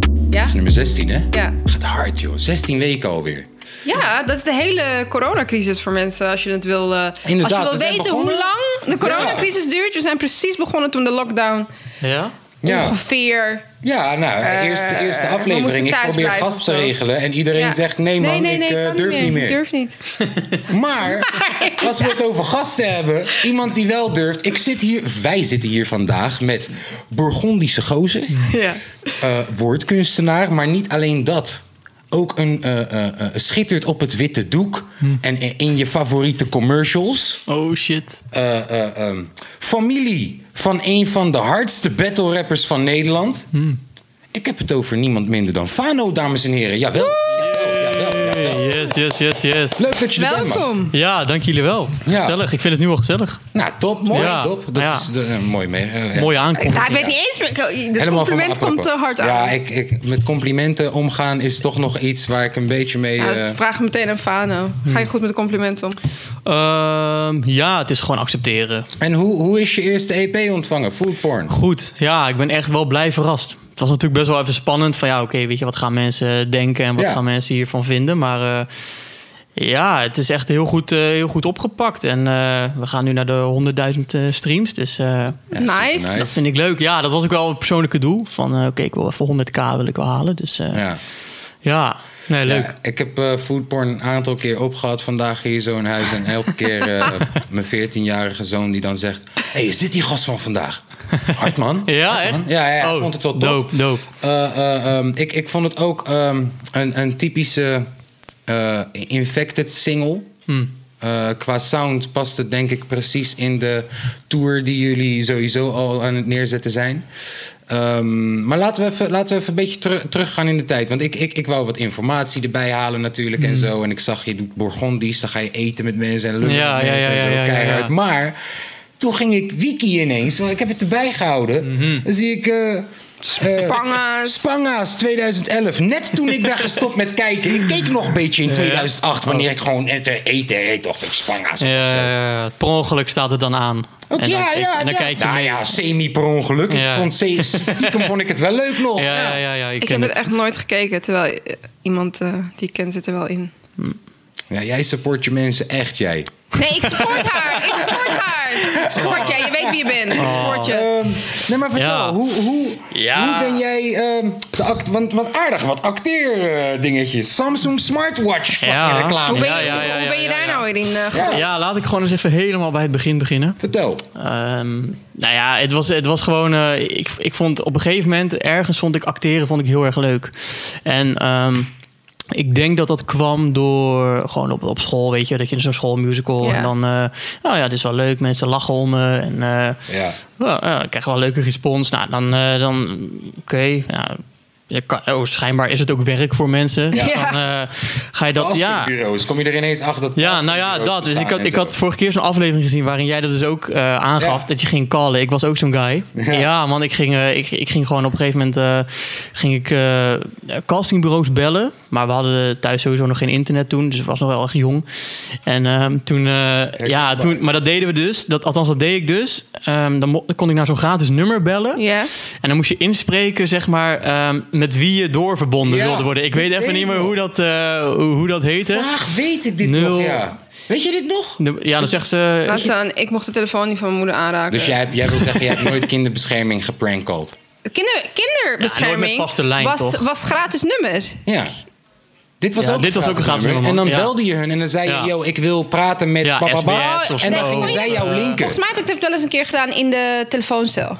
vandaag nummer 16, hè? Ja. Gaat hard, joh. 16 weken alweer. Ja, dat is de hele coronacrisis voor mensen. Als je het wil, eh, als je Inderdaad, wil we zijn weten hoe begonnen. lang de coronacrisis duurt. We zijn precies begonnen toen de lockdown Ja? Ja, ongeveer... Eh, ja nou, eerste, eerste we moesten aflevering. Ik thuis probeer blijven gast of te zo. regelen. En iedereen ja. zegt, nee man, ik eh, kan durf niet meer. Durf niet. Maar als we het over gasten hebben, iemand die wel durft. Ik zit hier, wij zitten hier vandaag met Burgondische gozer, Ja. eh, woordkunstenaar, maar niet alleen dat. Ook een eh, eh, eh, schittert op het witte doek Hm. en i- in je favoriete commercials. Oh shit. Eh, eh, ehm, familie van een van de hardste battle rappers van Nederland. Ik heb het over niemand minder dan Fano, dames en heren. Jawel, jawel, jawel, jawel. Yes, yes, yes, yes. Leuk dat je er bent, man. Welkom. Ja, dank jullie wel. Ja. Gezellig. Ik vind het nu al gezellig. Nou, top. Mooi. Ja. top. Dat Ja. is de, eh, mooi mee. eh, ja. Mooie aankomst. Ja, ik weet niet eens meer. Het Helemaal van compliment me komt te afklappen. hard aan. Ja, ik, ik, met complimenten omgaan is toch nog iets waar ik een beetje mee... Ja, dus eh, hm. vraag meteen aan Fano. Ga je goed met complimenten om? Ehm, ja, het is gewoon accepteren. en hoe, hoe is je eerste EP ontvangen? Food porn. Goed. Ja, ik ben echt wel blij verrast. Het was natuurlijk best wel even spannend. Van ja, oké, weet je, wat gaan mensen denken en wat Ja. gaan mensen hiervan vinden? Maar eh, ja, het is echt heel goed, eh, heel goed opgepakt. En eh, we gaan nu naar de 100.000 eh, streams. Dus eh, nice. supernice. dat vind ik leuk. Ja, dat was ook wel een persoonlijke doel. Van eh, oké, ik wil even 100k wil ik wel halen. Dus eh, ja. Ja. nee, leuk. Ja, ik heb eh food porn een aantal keer opgehad vandaag hier zo in huis. En elke keer eh, mijn 14-jarige zoon die dan zegt... Hé, hey, is dit die gast van vandaag? Hard man. Ja, echt? Ja, ja, ja, ik Oh, vond het wel tof. Dope, dope. Eh, eh, ehm, ik, ik vond het ook ehm, een, een typische eh, infected single. Hmm. Eh, qua sound past het denk ik precies in de tour die jullie sowieso al aan het neerzetten zijn. Ehm, maar laten we even, laten we even een beetje teru- teruggaan in de tijd. Want ik, ik, ik wou wat informatie erbij halen natuurlijk Hmm. en zo. En ik zag, je doet Bourgondisch, dan ga je eten met mensen en lullen Ja, met ja, mensen ja, en zo, ja, ja, keihard. ja. Maar toen ging ik wiki ineens, want ik heb het erbij gehouden. Mhm. Dan zie ik... eh, eh, Panga's. Spanga's 2011. Net toen ik ben gestopt met kijken. Ik keek nog een beetje in 2008, wanneer ik gewoon het eh, eten eet. Dacht ik, Spanga's. Oh. Ja, ja, ja. Eh, per ongeluk staat het dan aan. Ook en dan, ja, kijk- ja, en dan ja. kijk je nou mee. ja, semi per ongeluk. Ja. Ik vond, se- stiekem vond ik het wel leuk nog. Ja, ja, ja, ja, ik, Ik ken heb het het. echt nooit gekeken, terwijl eh, iemand eh, die ik ken zit er wel in. Ja, jij support je mensen echt, jij. Nee, ik support haar. Ik support haar. Ik support jij. Je weet wie je bent. Oh. Ik support je. Ehm, nee, maar vertel, Ja. hoe, hoe, Ja. hoe ben jij... ehm, de act want, want aardig, wat acteerdingetjes. Samsung Smartwatch fucking Ja. reclame. Hoe ben ja, je, ja, ja, hoe ben je ja, daar ja. nou in eh, ge- Ja. Ja, laat ik gewoon eens even helemaal bij het begin beginnen. Vertel. Ehm, nou ja, het was, het was gewoon. eh, ik, ik vond op een gegeven moment ergens vond ik acteren vond ik heel erg leuk. En ehm, ik denk dat dat kwam door gewoon op, op school, weet je, dat je in zo'n schoolmusical Ja. en dan, eh nou ja, dit is wel leuk, mensen lachen om me en eh, Ja. Ja, ja, ik krijg wel een leuke respons. Nou, dan, eh, dan oké. ja, je kan- oh, schijnbaar is het ook werk voor mensen. Dus Ja. dan eh, ga je dat... Ja, Belastingbureaus. Dus Kom je er ineens achter dat ja nou ja, belastingbureaus dat. Dus ik bestaan had, en ik zo. had vorige keer zo'n aflevering gezien... waarin jij dat dus ook eh, aangaf, Ja. dat je ging callen. Ik was ook zo'n guy. Ja, man, ik ging, eh, ik, ik ging gewoon op een gegeven moment... eh, ging ik eh, castingbureaus bellen. Maar we hadden thuis sowieso nog geen internet toen. Dus ik was nog wel erg jong. En ehm, toen... eh, ja, toen, maar dat deden we dus. Dat, althans, dat deed ik dus. Ehm, dan, mo- dan kon ik naar zo'n gratis nummer bellen. Ja. En dan moest je inspreken, zeg maar, ehm, met wie je doorverbonden Ja, wilde worden. Ik dit weet even weet niet ik meer nog. hoe dat, eh, hoe, hoe dat heette. Vaag weet ik dit Nul. nog, ja. Weet je dit nog? De- Dus- Ja, dan zegt ze... Laat staan, ik mocht de telefoon niet van mijn moeder aanraken. Dus jij, hebt- jij wil zeggen, jij hebt nooit kinderbescherming geprankcalled. Kinder, Ja, nooit kinderbescherming met vaste lijn, was, toch? was gratis nummer. Ja. Dit was, Ja, ook, dit was ook een gratis nummer, En dan man. Ja. belde je hun en dan zei je, Ja. yo, ik wil praten met Ja, Eh, papa. ba." SBS of en dan zo. gingen zij jouw linker. Oh, Volgens mij heb ik dat wel eens een keer gedaan in de telefooncel.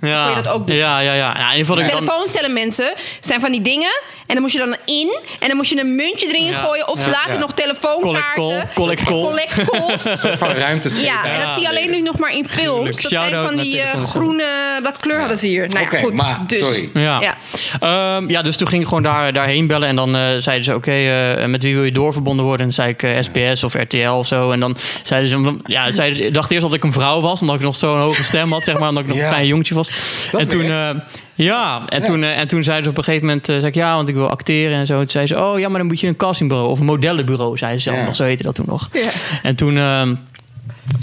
ja. kon je dat ook doen? Ja, ja, ja. Nou, in ieder geval dat ik dan... Telefooncellen, mensen, zijn van die dingen. En dan moest je dan in. En dan moest je een muntje erin Ja. gooien. Of Ja. later Ja. nog telefoonkaarten. Collect call, collect call. Collect calls. Van ruimtes Ja, en dat zie je alleen nu nog maar in films. Dat zijn Shout-out van naar die eh, telefoons. groene... Wat kleur hadden ze hier? Nou ja, Oké, goed. maar, dus. sorry. Ja. Ja. Ehm, ja, dus toen ging ik gewoon daar, daarheen bellen. En dan eh, zeiden ze, oké, eh, met wie wil je doorverbonden worden? En dan zei ik eh, SBS of RTL of zo. En dan zeiden ze... Ja, zeiden, ik dacht eerst dat ik een vrouw was. Omdat ik nog zo'n hoge stem had, zeg maar. Omdat ik nog Ja. een klein jongetje was. Dat en toen... werkt. eh, ja, en, Toen, eh, en toen zeiden ze op een gegeven moment... eh, zei ik, ja, want ik wil acteren en zo. Toen zeiden ze, oh ja, maar dan moet je een castingbureau... of een modellenbureau, zeiden ze zelf Ja. nog. Zo heette dat toen nog. Ja. En toen... ehm,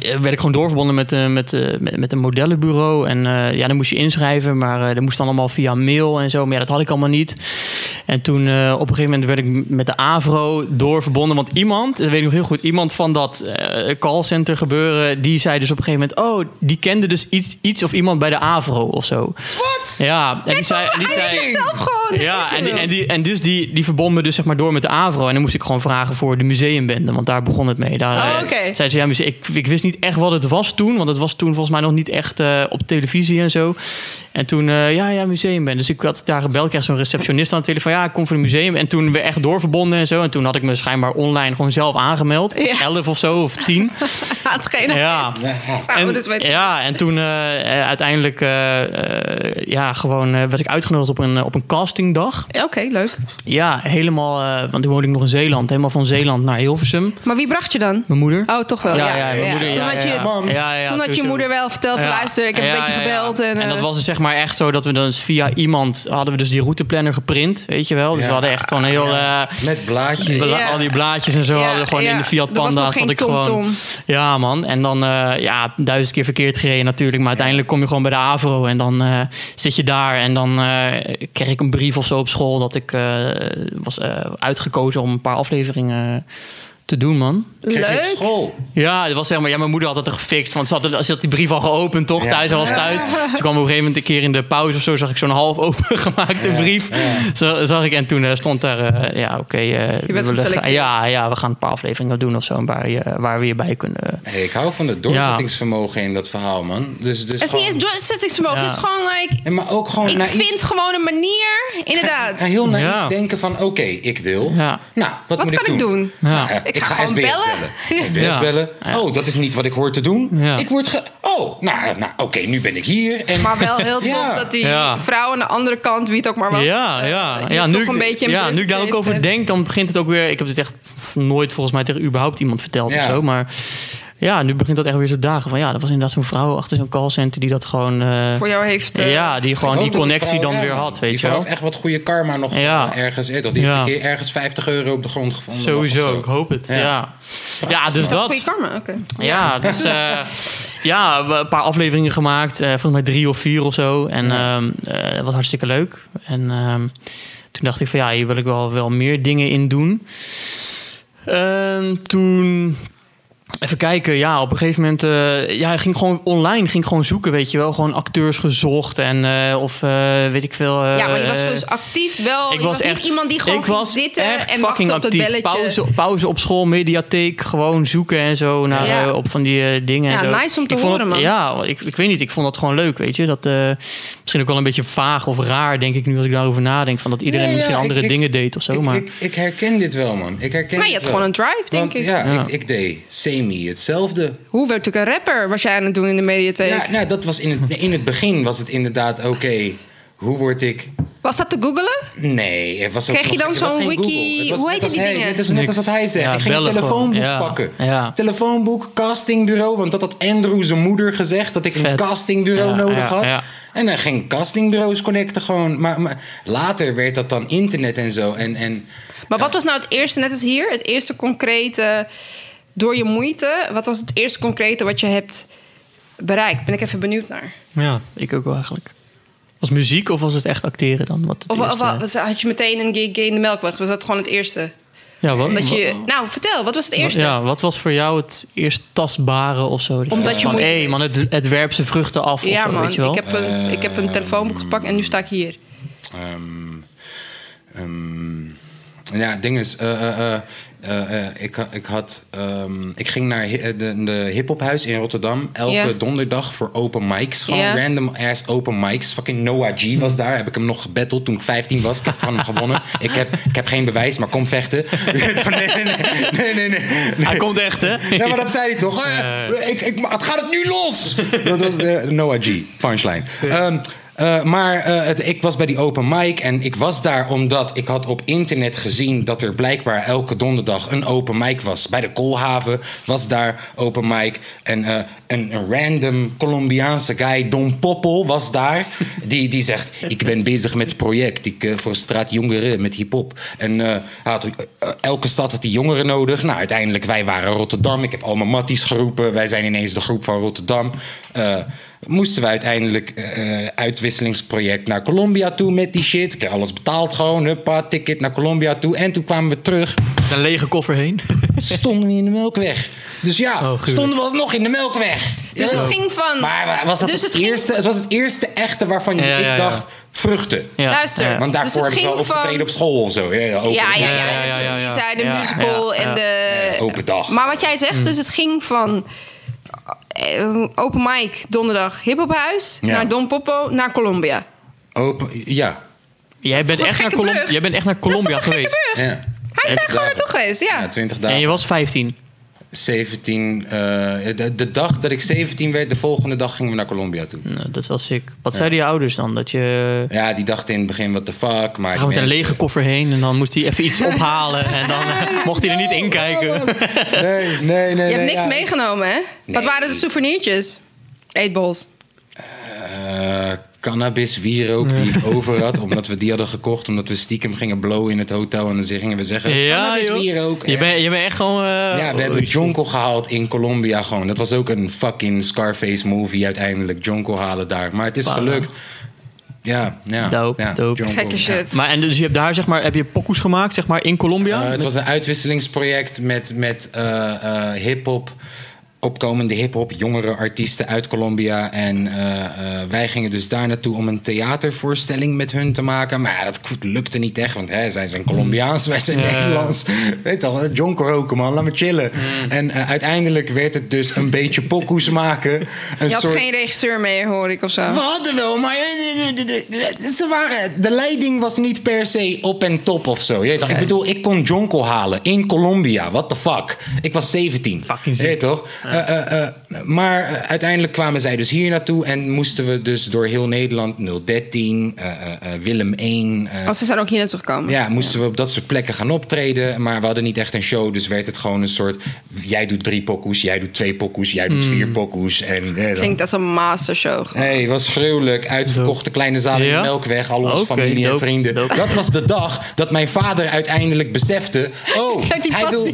eh, werd ik gewoon doorverbonden met, eh, met, eh, met, met een modellenbureau. En eh, ja, dan moest je inschrijven, maar eh, dat moest dan allemaal via mail en zo. Maar ja, dat had ik allemaal niet. En toen eh, op een gegeven moment werd ik m- met de AVRO doorverbonden. Want iemand, dat weet ik nog heel goed, iemand van dat eh, callcenter gebeuren... die zei dus op een gegeven moment... oh, die kende dus iets, iets of iemand bij de AVRO of zo. Wat? Ja, en die zei... Die zei zelf gewoon. ja, en, die- en, die, en dus die, die verbond me dus zeg maar door met de AVRO. En dan moest ik gewoon vragen voor de museumbende, want daar begon het mee. Daar, Oh, eh, oké. zei ze, ja, muse- ik, ik wist niet echt wat het was toen, want het was toen volgens mij nog niet echt eh, op televisie en zo. En toen, eh, ja, ja, museumbende. Dus ik had daar gebeld, kreeg zo'n receptionist aan de telefoon. Ja, ik kom voor het museum. En toen weer echt doorverbonden en zo. En toen had ik me schijnbaar online gewoon zelf aangemeld. Ik was Ja. 11 of zo, of 10. Had geen ja. en, dus weet Ja, en toen eh, eh, uiteindelijk eh, eh, ja, gewoon, eh, werd ik uitgenodigd op een, eh, op een castingdag. Oké, leuk. Ja, helemaal. eh, want toen woonde ik nog in Zeeland. Helemaal van Zeeland naar Hilversum. Maar wie bracht je dan? Mijn moeder. Oh, toch wel. Ja, ja. mijn moeder, Toen had je, Mam. Ja, ja, toen had je sowieso. moeder wel verteld van Ja. luister, ik heb Ja, een beetje ja, ja. gebeld. En, eh, dat was dus zeg maar echt zo dat we dan via iemand hadden we dus die routeplanner geprint, weet je wel. Dus Ja. we hadden echt gewoon heel eh, Met blaadjes. bla- Ja. al die blaadjes en zo Ja, hadden we gewoon ja. in de Fiat Er was nog Panda zat geen ik gewoon. TomTom. Ja man, en dan eh, ja duizend keer verkeerd gereden natuurlijk, maar uiteindelijk kom je gewoon bij de Avro en dan eh, zit je daar en dan eh, kreeg ik een brief of zo op school dat ik eh, was eh, uitgekozen om een paar afleveringen eh, te doen man. Kreeg ik leuk. school. Ja, dat was zeg maar, ja, mijn moeder had dat er gefixt. Want ze had, ze had die brief al geopend, toch? Ja. Thuis, al was thuis. Ze kwam op een gegeven moment een keer in de pauze of zo. Zag ik zo'n half opengemaakte brief. Zo, zag ik. En toen eh, stond daar, eh, ja, oké. eh, we willen geselecteerd. graag- ja, ja, we gaan een paar afleveringen doen of zo. Waar, je, waar we je bij kunnen. Hey, ik hou van het doorzettingsvermogen in dat verhaal, man. Dus, dus Het is niet gewoon- eens doorzettingsvermogen. Ja. Het is gewoon like, Nee, maar ook gewoon ik naïef. vind gewoon een manier. Inderdaad. Oh, nou, Ja, heel naïef Ja. denken van, oké, ik wil. Ja. Nou, wat, Wat moet kan ik doen? Ja. Nou, eh, ik, ga ga, gewoon SBS bellen. bellen. SBS Ja. bellen. Ja. Oh, dat is niet wat ik hoor te doen. Ja. Ik word ge... Oh, nou, eh, nou oké, nu ben ik hier. En... Maar wel heel tof Ja. dat die Ja. vrouw aan de andere kant, wie het ook maar was. ja, eh, ja. je ja, toch nu, een ik- beetje een ja, brug nu ik daar ook heeft, over eh. denk, dan begint het ook weer... Ik heb dit echt nooit volgens mij tegen überhaupt iemand verteld Ja. of zo. Maar ja, nu begint dat echt weer zo dagen van... Ja, dat was inderdaad zo'n vrouw achter zo'n callcenter die dat gewoon... eh, Voor jou heeft. eh, ja, die gewoon die Ook dat connectie vrouw, dan ja, weer had, weet die je vrouw wel. heeft echt wat goede karma nog Ja. eh, ergens. eh, dat die Ja. een keer ergens 50 euro op de grond gevonden had of Sowieso, zo. ik hoop het. Ja. Ja, ja. dus dat. Goeie karma, oké. Ja, dus eh, ja, we- een paar afleveringen gemaakt. eh, volgens mij drie of vier of zo. En ehm, eh, dat was hartstikke leuk. En ehm, toen dacht ik van ja, hier wil ik wel, wel meer dingen in doen. Ehm, toen Even kijken, ja, op een gegeven moment... eh, ja, hij ging gewoon online, ging gewoon zoeken, weet je wel. Gewoon acteurs gezocht en eh, of eh, weet ik veel... eh, Ja, maar je was dus actief wel. je was niet iemand die gewoon ik ging was zitten echt en fucking wachtte op dat actief. belletje. Pauze, pauze op school, mediatheek, gewoon zoeken en zo naar, Ja. eh, op van die eh, dingen. Ja, en zo. nice om te ik vond horen, het- man. Ja, ik, ik weet niet, ik vond dat gewoon leuk, weet je. Dat, eh, misschien ook wel een beetje vaag of raar, denk ik nu als ik daarover nadenk. Van dat iedereen Ja, ja, misschien ik- andere ik- dingen deed of zo. Ik, maar ik, ik herken dit wel, man. Ik herken Maar je dit wel. had gewoon een drive, denk Want, ik. Ja, Ja. Ik, ik deed semi hetzelfde. Hoe werd ik een rapper? Was jij aan het doen in de mediatheek? Ja, nou, dat was in, het, in het begin was het inderdaad oké. hoe word ik... Was dat te googelen? Nee, het was ook Kreeg je nog- dan het was zo'n geen wiki- Google. Het was hoe net heet als die hij- dingen? Net als, net als Niks. wat hij zegt. Ja, ik ging een bellen telefoonboek gewoon. Ja, pakken. ja. Telefoonboek, castingbureau. Want dat had Andrew zijn moeder gezegd. Dat ik een Vet. castingbureau Ja, nodig ja, had. ja. En dan ging castingbureaus connecten gewoon. Maar, maar later werd dat dan internet en zo. En, en Maar wat was nou het eerste, net als hier, het eerste concrete, door je moeite, wat was het eerste concrete wat je hebt bereikt? Ben ik even benieuwd naar. ja, ik ook wel eigenlijk. Was muziek of was het echt acteren dan? Wat het Of, eerste- of was- had je meteen een gig in de Melkweg? Was dat gewoon het eerste? ja, wat, Dat je, nou, vertel, wat was het eerste? Oh, Ja, wat was voor jou het eerst tastbare of zo? Dat Omdat dacht je van, moeite hé deed. man, het, het werpt zijn vruchten af of Ja, zo, man, weet je wel? Eh, ik heb, een, ik heb een telefoonboek gepakt en nu sta ik hier. Ehm, ehm, ja, het ding is, eh, eh, eh, eh, eh, ik, ha- ik, had, ehm, ik ging naar hi- eh, de, de hiphophuis in Rotterdam elke Ja. donderdag voor open mics. Gewoon Ja. Hm. random ass open mics. Fucking Noah G was daar. Heb ik hem nog gebatteld toen ik 15 was. Ik heb van hem gewonnen. Ik heb, ik heb geen bewijs, maar kom vechten. nee, nee, nee. nee, nee, nee. Hij komt echt, hè? Ja, maar dat zei hij Eh. toch? hè? ik, ik, het gaat het nu los! Dat was de Noah G, eh, punchline. Ehm, Eh, maar eh, het, ik was bij die open mic en ik was daar omdat ik had op internet gezien dat er blijkbaar elke donderdag een open mic was. Bij de Koolhaven was daar open mic en eh, een, een random Colombiaanse guy, Don Poppel, was daar. Die, die zegt, ik ben bezig met het project ik, eh, voor straat jongeren met hiphop. En eh, hij had, eh, eh, elke stad had die jongeren nodig. Nou, uiteindelijk, wij waren Rotterdam. Ik heb al mijn matties geroepen. Wij zijn ineens de groep van Rotterdam. Eh, moesten we uiteindelijk eh, eh, uitwisselingsproject naar Colombia toe met die shit. Ik heb alles betaald gewoon, huppa, ticket naar Colombia toe. En toen kwamen we terug, Een lege koffer heen. stonden we in de Melkweg. Dus ja, Oh, gruwelijk. stonden we alsnog in de Melkweg. Dus Ja. het ging van... Maar eh, was dat dus het, ging- eerste, het was het eerste echte waarvan je- Ja, ja, ik ja. dacht, vruchten. Ja, eh, Luister. ja. Want Dus daarvoor het heb ik wel ging van- opgetreden op school of zo. Ja, ja, open, Ja, ja, Ja, ja. ja, ja, ja, ja. Die zei de Ja, musical ja, en ja. de... open dag. Maar wat jij Mm. zegt, dus het ging van eh, open mic, donderdag hiphophuis, Ja. naar Don Popo, naar Colombia. open, ja. Jij bent, een echt naar gekke Colom- brug? jij bent echt naar Colombia dat is toch een gekke geweest. brug? ja. Hij is daar gewoon dagen. naartoe geweest, ja. Ja, 20 dagen. En je was 15. 17, eh, de, de dag dat ik 17 werd, de volgende dag gingen we naar Colombia toe. Nou, dat was sick. Wat zeiden je ouders dan? Dat je... Ja, die dachten in het begin, what the fuck. Maar Hij gaat met die een mensen- lege koffer heen en dan moest hij even iets ophalen. En dan eh, mocht hij er niet in kijken. Nee, nee, nee. je hebt niks meegenomen, hè? Wat waren de Nee. souvenirtjes? Eetbols. Eh, cannabis, wierook die ik over had. Omdat we die hadden gekocht. Omdat we stiekem gingen blowen in het hotel. En dan gingen we zeggen, het is dus cannabis, joh. wierook. Je bent je bent echt gewoon... eh, Ja, we hebben Jonko gehaald in Colombia gewoon. Dat was ook een fucking Scarface movie uiteindelijk. Jonko halen daar. Maar het is Wauw. gelukt. Ja, ja. Dope, ja, dope. Jonko, Gekke ja. shit. Maar en dus je hebt daar zeg maar, heb je pokoes gemaakt zeg maar in Colombia? Eh, het Met- was een uitwisselingsproject met, met eh, eh, hip-hop. Opkomende hip-hop, jongere artiesten uit Colombia. En eh, eh, wij gingen dus daar naartoe om een theatervoorstelling met hun te maken. Maar ja, dat lukte niet echt, want hè, zij zijn Colombiaans, wij zijn Mm. Ja. Nederlands. Weet al, hè, John roken, man, laat me chillen. Mm. En eh, uiteindelijk werd het dus een beetje pokoes maken. Een Je had soort geen regisseur mee, hoor ik of zo. we hadden wel, maar eh, eh, eh, eh, ze waren, de leiding was niet per se op en top of zo. Je weet toch? Ik bedoel, ik kon Jonko halen in Colombia. What the fuck? Ik was 17. Fucking Je weet toch? Eh, eh, eh, maar eh, uiteindelijk kwamen zij dus hier naartoe en moesten we dus door heel Nederland 013, eh, eh, eh, Willem 1. eh, Want ze zijn ook hier naartoe gekomen. ja, moesten we op dat soort plekken gaan optreden. Maar we hadden niet echt een show. Dus werd het gewoon een soort. Jij doet drie pokoes, jij doet twee pokoes, jij doet vier pokoes. En, eh, dan- Klinkt als een mastershow. Hé, hey, was gruwelijk. Uitverkochte kleine zaal in de Ja? Melkweg. Al onze Oké, familie en dope, vrienden. dope. Dat was de dag dat mijn vader uiteindelijk besefte... Oh, Kijk die hij wil,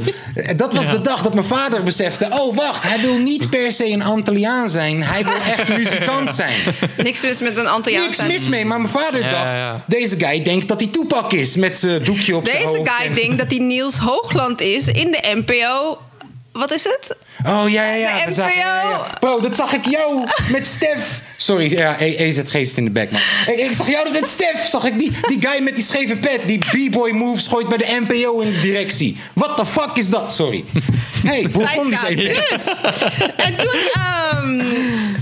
dat was de dag dat mijn vader besefte... Oh, wacht, hij wil niet per se een Antilliaan zijn. Hij wil echt muzikant zijn. Niks mis met een Antilliaan Niks zijn. mis mee, maar mijn vader Ja, dacht... ja. Deze guy denkt dat hij toepak is met zijn doekje op zijn Deze hoofd. guy en- denkt dat hij Niels Hoogland is in de NPO. Wat is het? Oh ja, ja, ja. De we zagen- ja, ja, ja. NPO. Bro, dat zag ik jou met Stef. Sorry, ja, E- EZ geest in de bek, man. Ik, ik zag jou met Stef. Zag ik die, die guy met die scheve pet. Die b-boy moves gooit bij de NPO in de directie. What the fuck is dat? Sorry. hey, Burgondisch Zij EP. staat dus. En toen, ehm,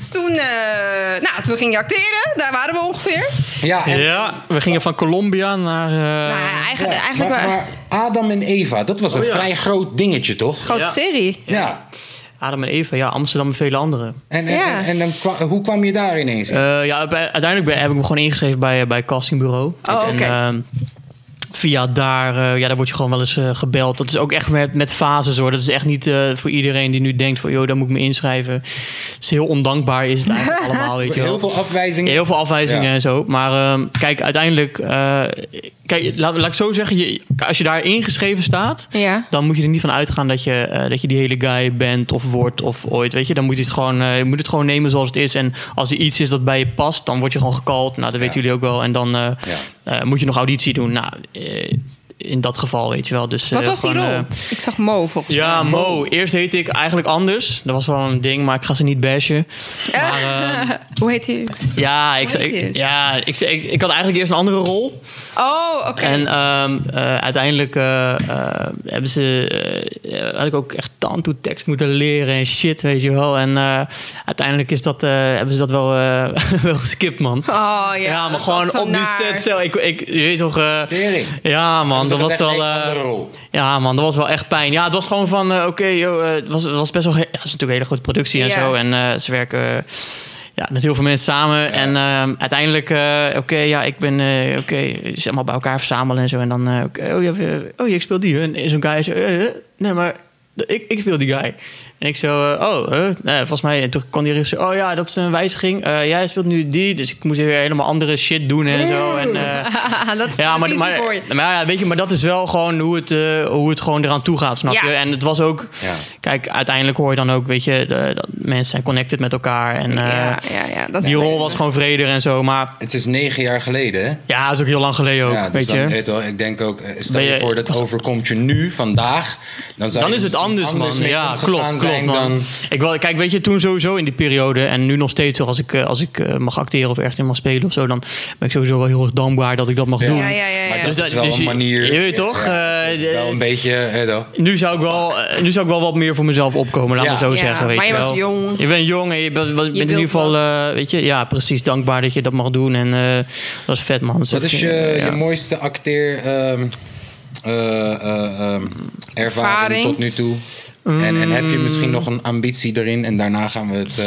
toen, eh, nou, toen ging je acteren. Daar waren we ongeveer. Ja, en- Ja, we gingen van Colombia naar... eh, nou, ja, eigenlijk, ja, eigenlijk maar, wel maar Adam en Eva, dat was een Oh, ja. vrij groot dingetje, toch? grote Ja. serie. Ja. Adam en Eva, ja, Amsterdam en vele anderen. En, en, Ja. en, en dan kwa- hoe kwam je daar ineens in? Eh, ja, bij- uiteindelijk ben, heb ik me gewoon ingeschreven bij, eh, bij het castingbureau. Oh, oké. En, eh, via daar, eh, ja, daar word je gewoon wel eens eh, gebeld. Dat is ook echt met, met fases hoor. Dat is echt niet eh, voor iedereen die nu denkt van, joh, daar moet ik me inschrijven. Het is heel ondankbaar is het eigenlijk allemaal, weet je wel. Heel veel afwijzingen. Ja, heel veel afwijzingen Ja. en zo. Maar ehm, kijk, uiteindelijk... eh, kijk, laat, laat ik zo zeggen. Je, als je daar ingeschreven staat... Ja. dan moet je er niet van uitgaan dat je, eh, dat je die hele guy bent of wordt of ooit. Weet je? Dan moet je, het gewoon, eh, je moet het gewoon nemen zoals het is. En als er iets is dat bij je past, dan word je gewoon gekald. Nou, dat weten jullie ook wel. En dan eh, eh, moet je nog auditie doen. Nou, eh, in dat geval, weet je wel. Dus, Wat eh, was die gewoon, rol? eh, Ik zag Mo volgens mij. ja, Mo. Eerst heette ik eigenlijk anders. Dat was wel een ding, maar ik ga ze niet bashen. Maar, ehm, Hoe heet hij? ja, ik, Hoe heet ik- die? ja ik, ik, ik had eigenlijk eerst een andere rol. Oh, oké. En ehm, eh, uiteindelijk eh, eh, hebben ze, eh, eh, had ik ook echt tekst moeten leren en shit, weet je wel. En eh, uiteindelijk is dat, eh, hebben ze dat wel, eh, wel geskipt, man. Oh ja, Ja, maar dat is gewoon altijd zo op die naar. set zo. Ik, ik, je weet toch... eh, Tering. ja, man, dat Hebben was ze wel... gezegd, nee, eh, andere rol. ja, man, dat was wel echt pijn. Ja, het was gewoon van, eh, oké, joh, eh, het was, het was best wel... ge- ja, Het is natuurlijk een hele grote productie en Ja. zo. En eh, ze werken... eh, ja, met heel veel mensen samen. En ehm, uiteindelijk, eh, oké, ja, ik ben, eh, oké, ze allemaal bij elkaar verzamelen en zo. En dan, eh, oké, oh, ja, eh, oh ja, ik speel die. En zo'n guy zo, eh, eh, nee, maar d- ik, ik speel die guy. En ik zo, eh, oh, eh, nee, volgens mij. En toen kwam die zo, oh ja, dat is een wijziging. Eh, jij speelt nu die, dus ik moest weer helemaal andere shit doen en zo. En, eh, dat is ja, maar, maar, voor je. maar ja, weet je, maar dat is wel gewoon hoe het, eh, hoe het gewoon eraan toe gaat, snap Ja. je? En het was ook, Ja. kijk, uiteindelijk hoor je dan ook, weet je, de- dat mensen zijn connected met elkaar. En eh, ja, ja, ja, dat is die rol leuk. was gewoon vreder en zo. Maar Het is negen jaar geleden, hè? ja, dat is ook heel lang geleden ook, ja, dus weet dan, weet je je. wel, ik denk ook, eh, stel Ben je, je- voor dat overkomt je nu, vandaag. Dan, zou Dan je is het misschien anders, man. mee Ja, omgegaan klopt, klopt, zijn man. dan- Ik wel, kijk, weet je, toen sowieso in die periode... en nu nog steeds, zo, als ik, eh, als ik eh, mag acteren of ergens in mag spelen of zo... dan ben ik sowieso wel heel erg dankbaar dat ik dat mag doen. Ja, ja, ja, Maar ja. dat Dus is dat- wel dus een je- manier. je weet toch, Ja, eh, het is wel een beetje. eh, wel. Nu zou, ik wel, eh, nu zou ik wel wat meer voor mezelf opkomen, laat Ja. me zo Ja, zeggen. Weet maar je wel. was jong. Je bent jong en je bent, bent in wilt ieder geval, wat. eh, weet je, ja, precies dankbaar dat je dat mag doen. En eh, dat is vet, man. Dus Wat dat is je, vind ik, ja. je mooiste acteer ehm, eh, eh, ehm, ervaring Ervaring? tot nu toe? En, en heb je misschien Mm. nog een ambitie erin? En daarna gaan we het eh,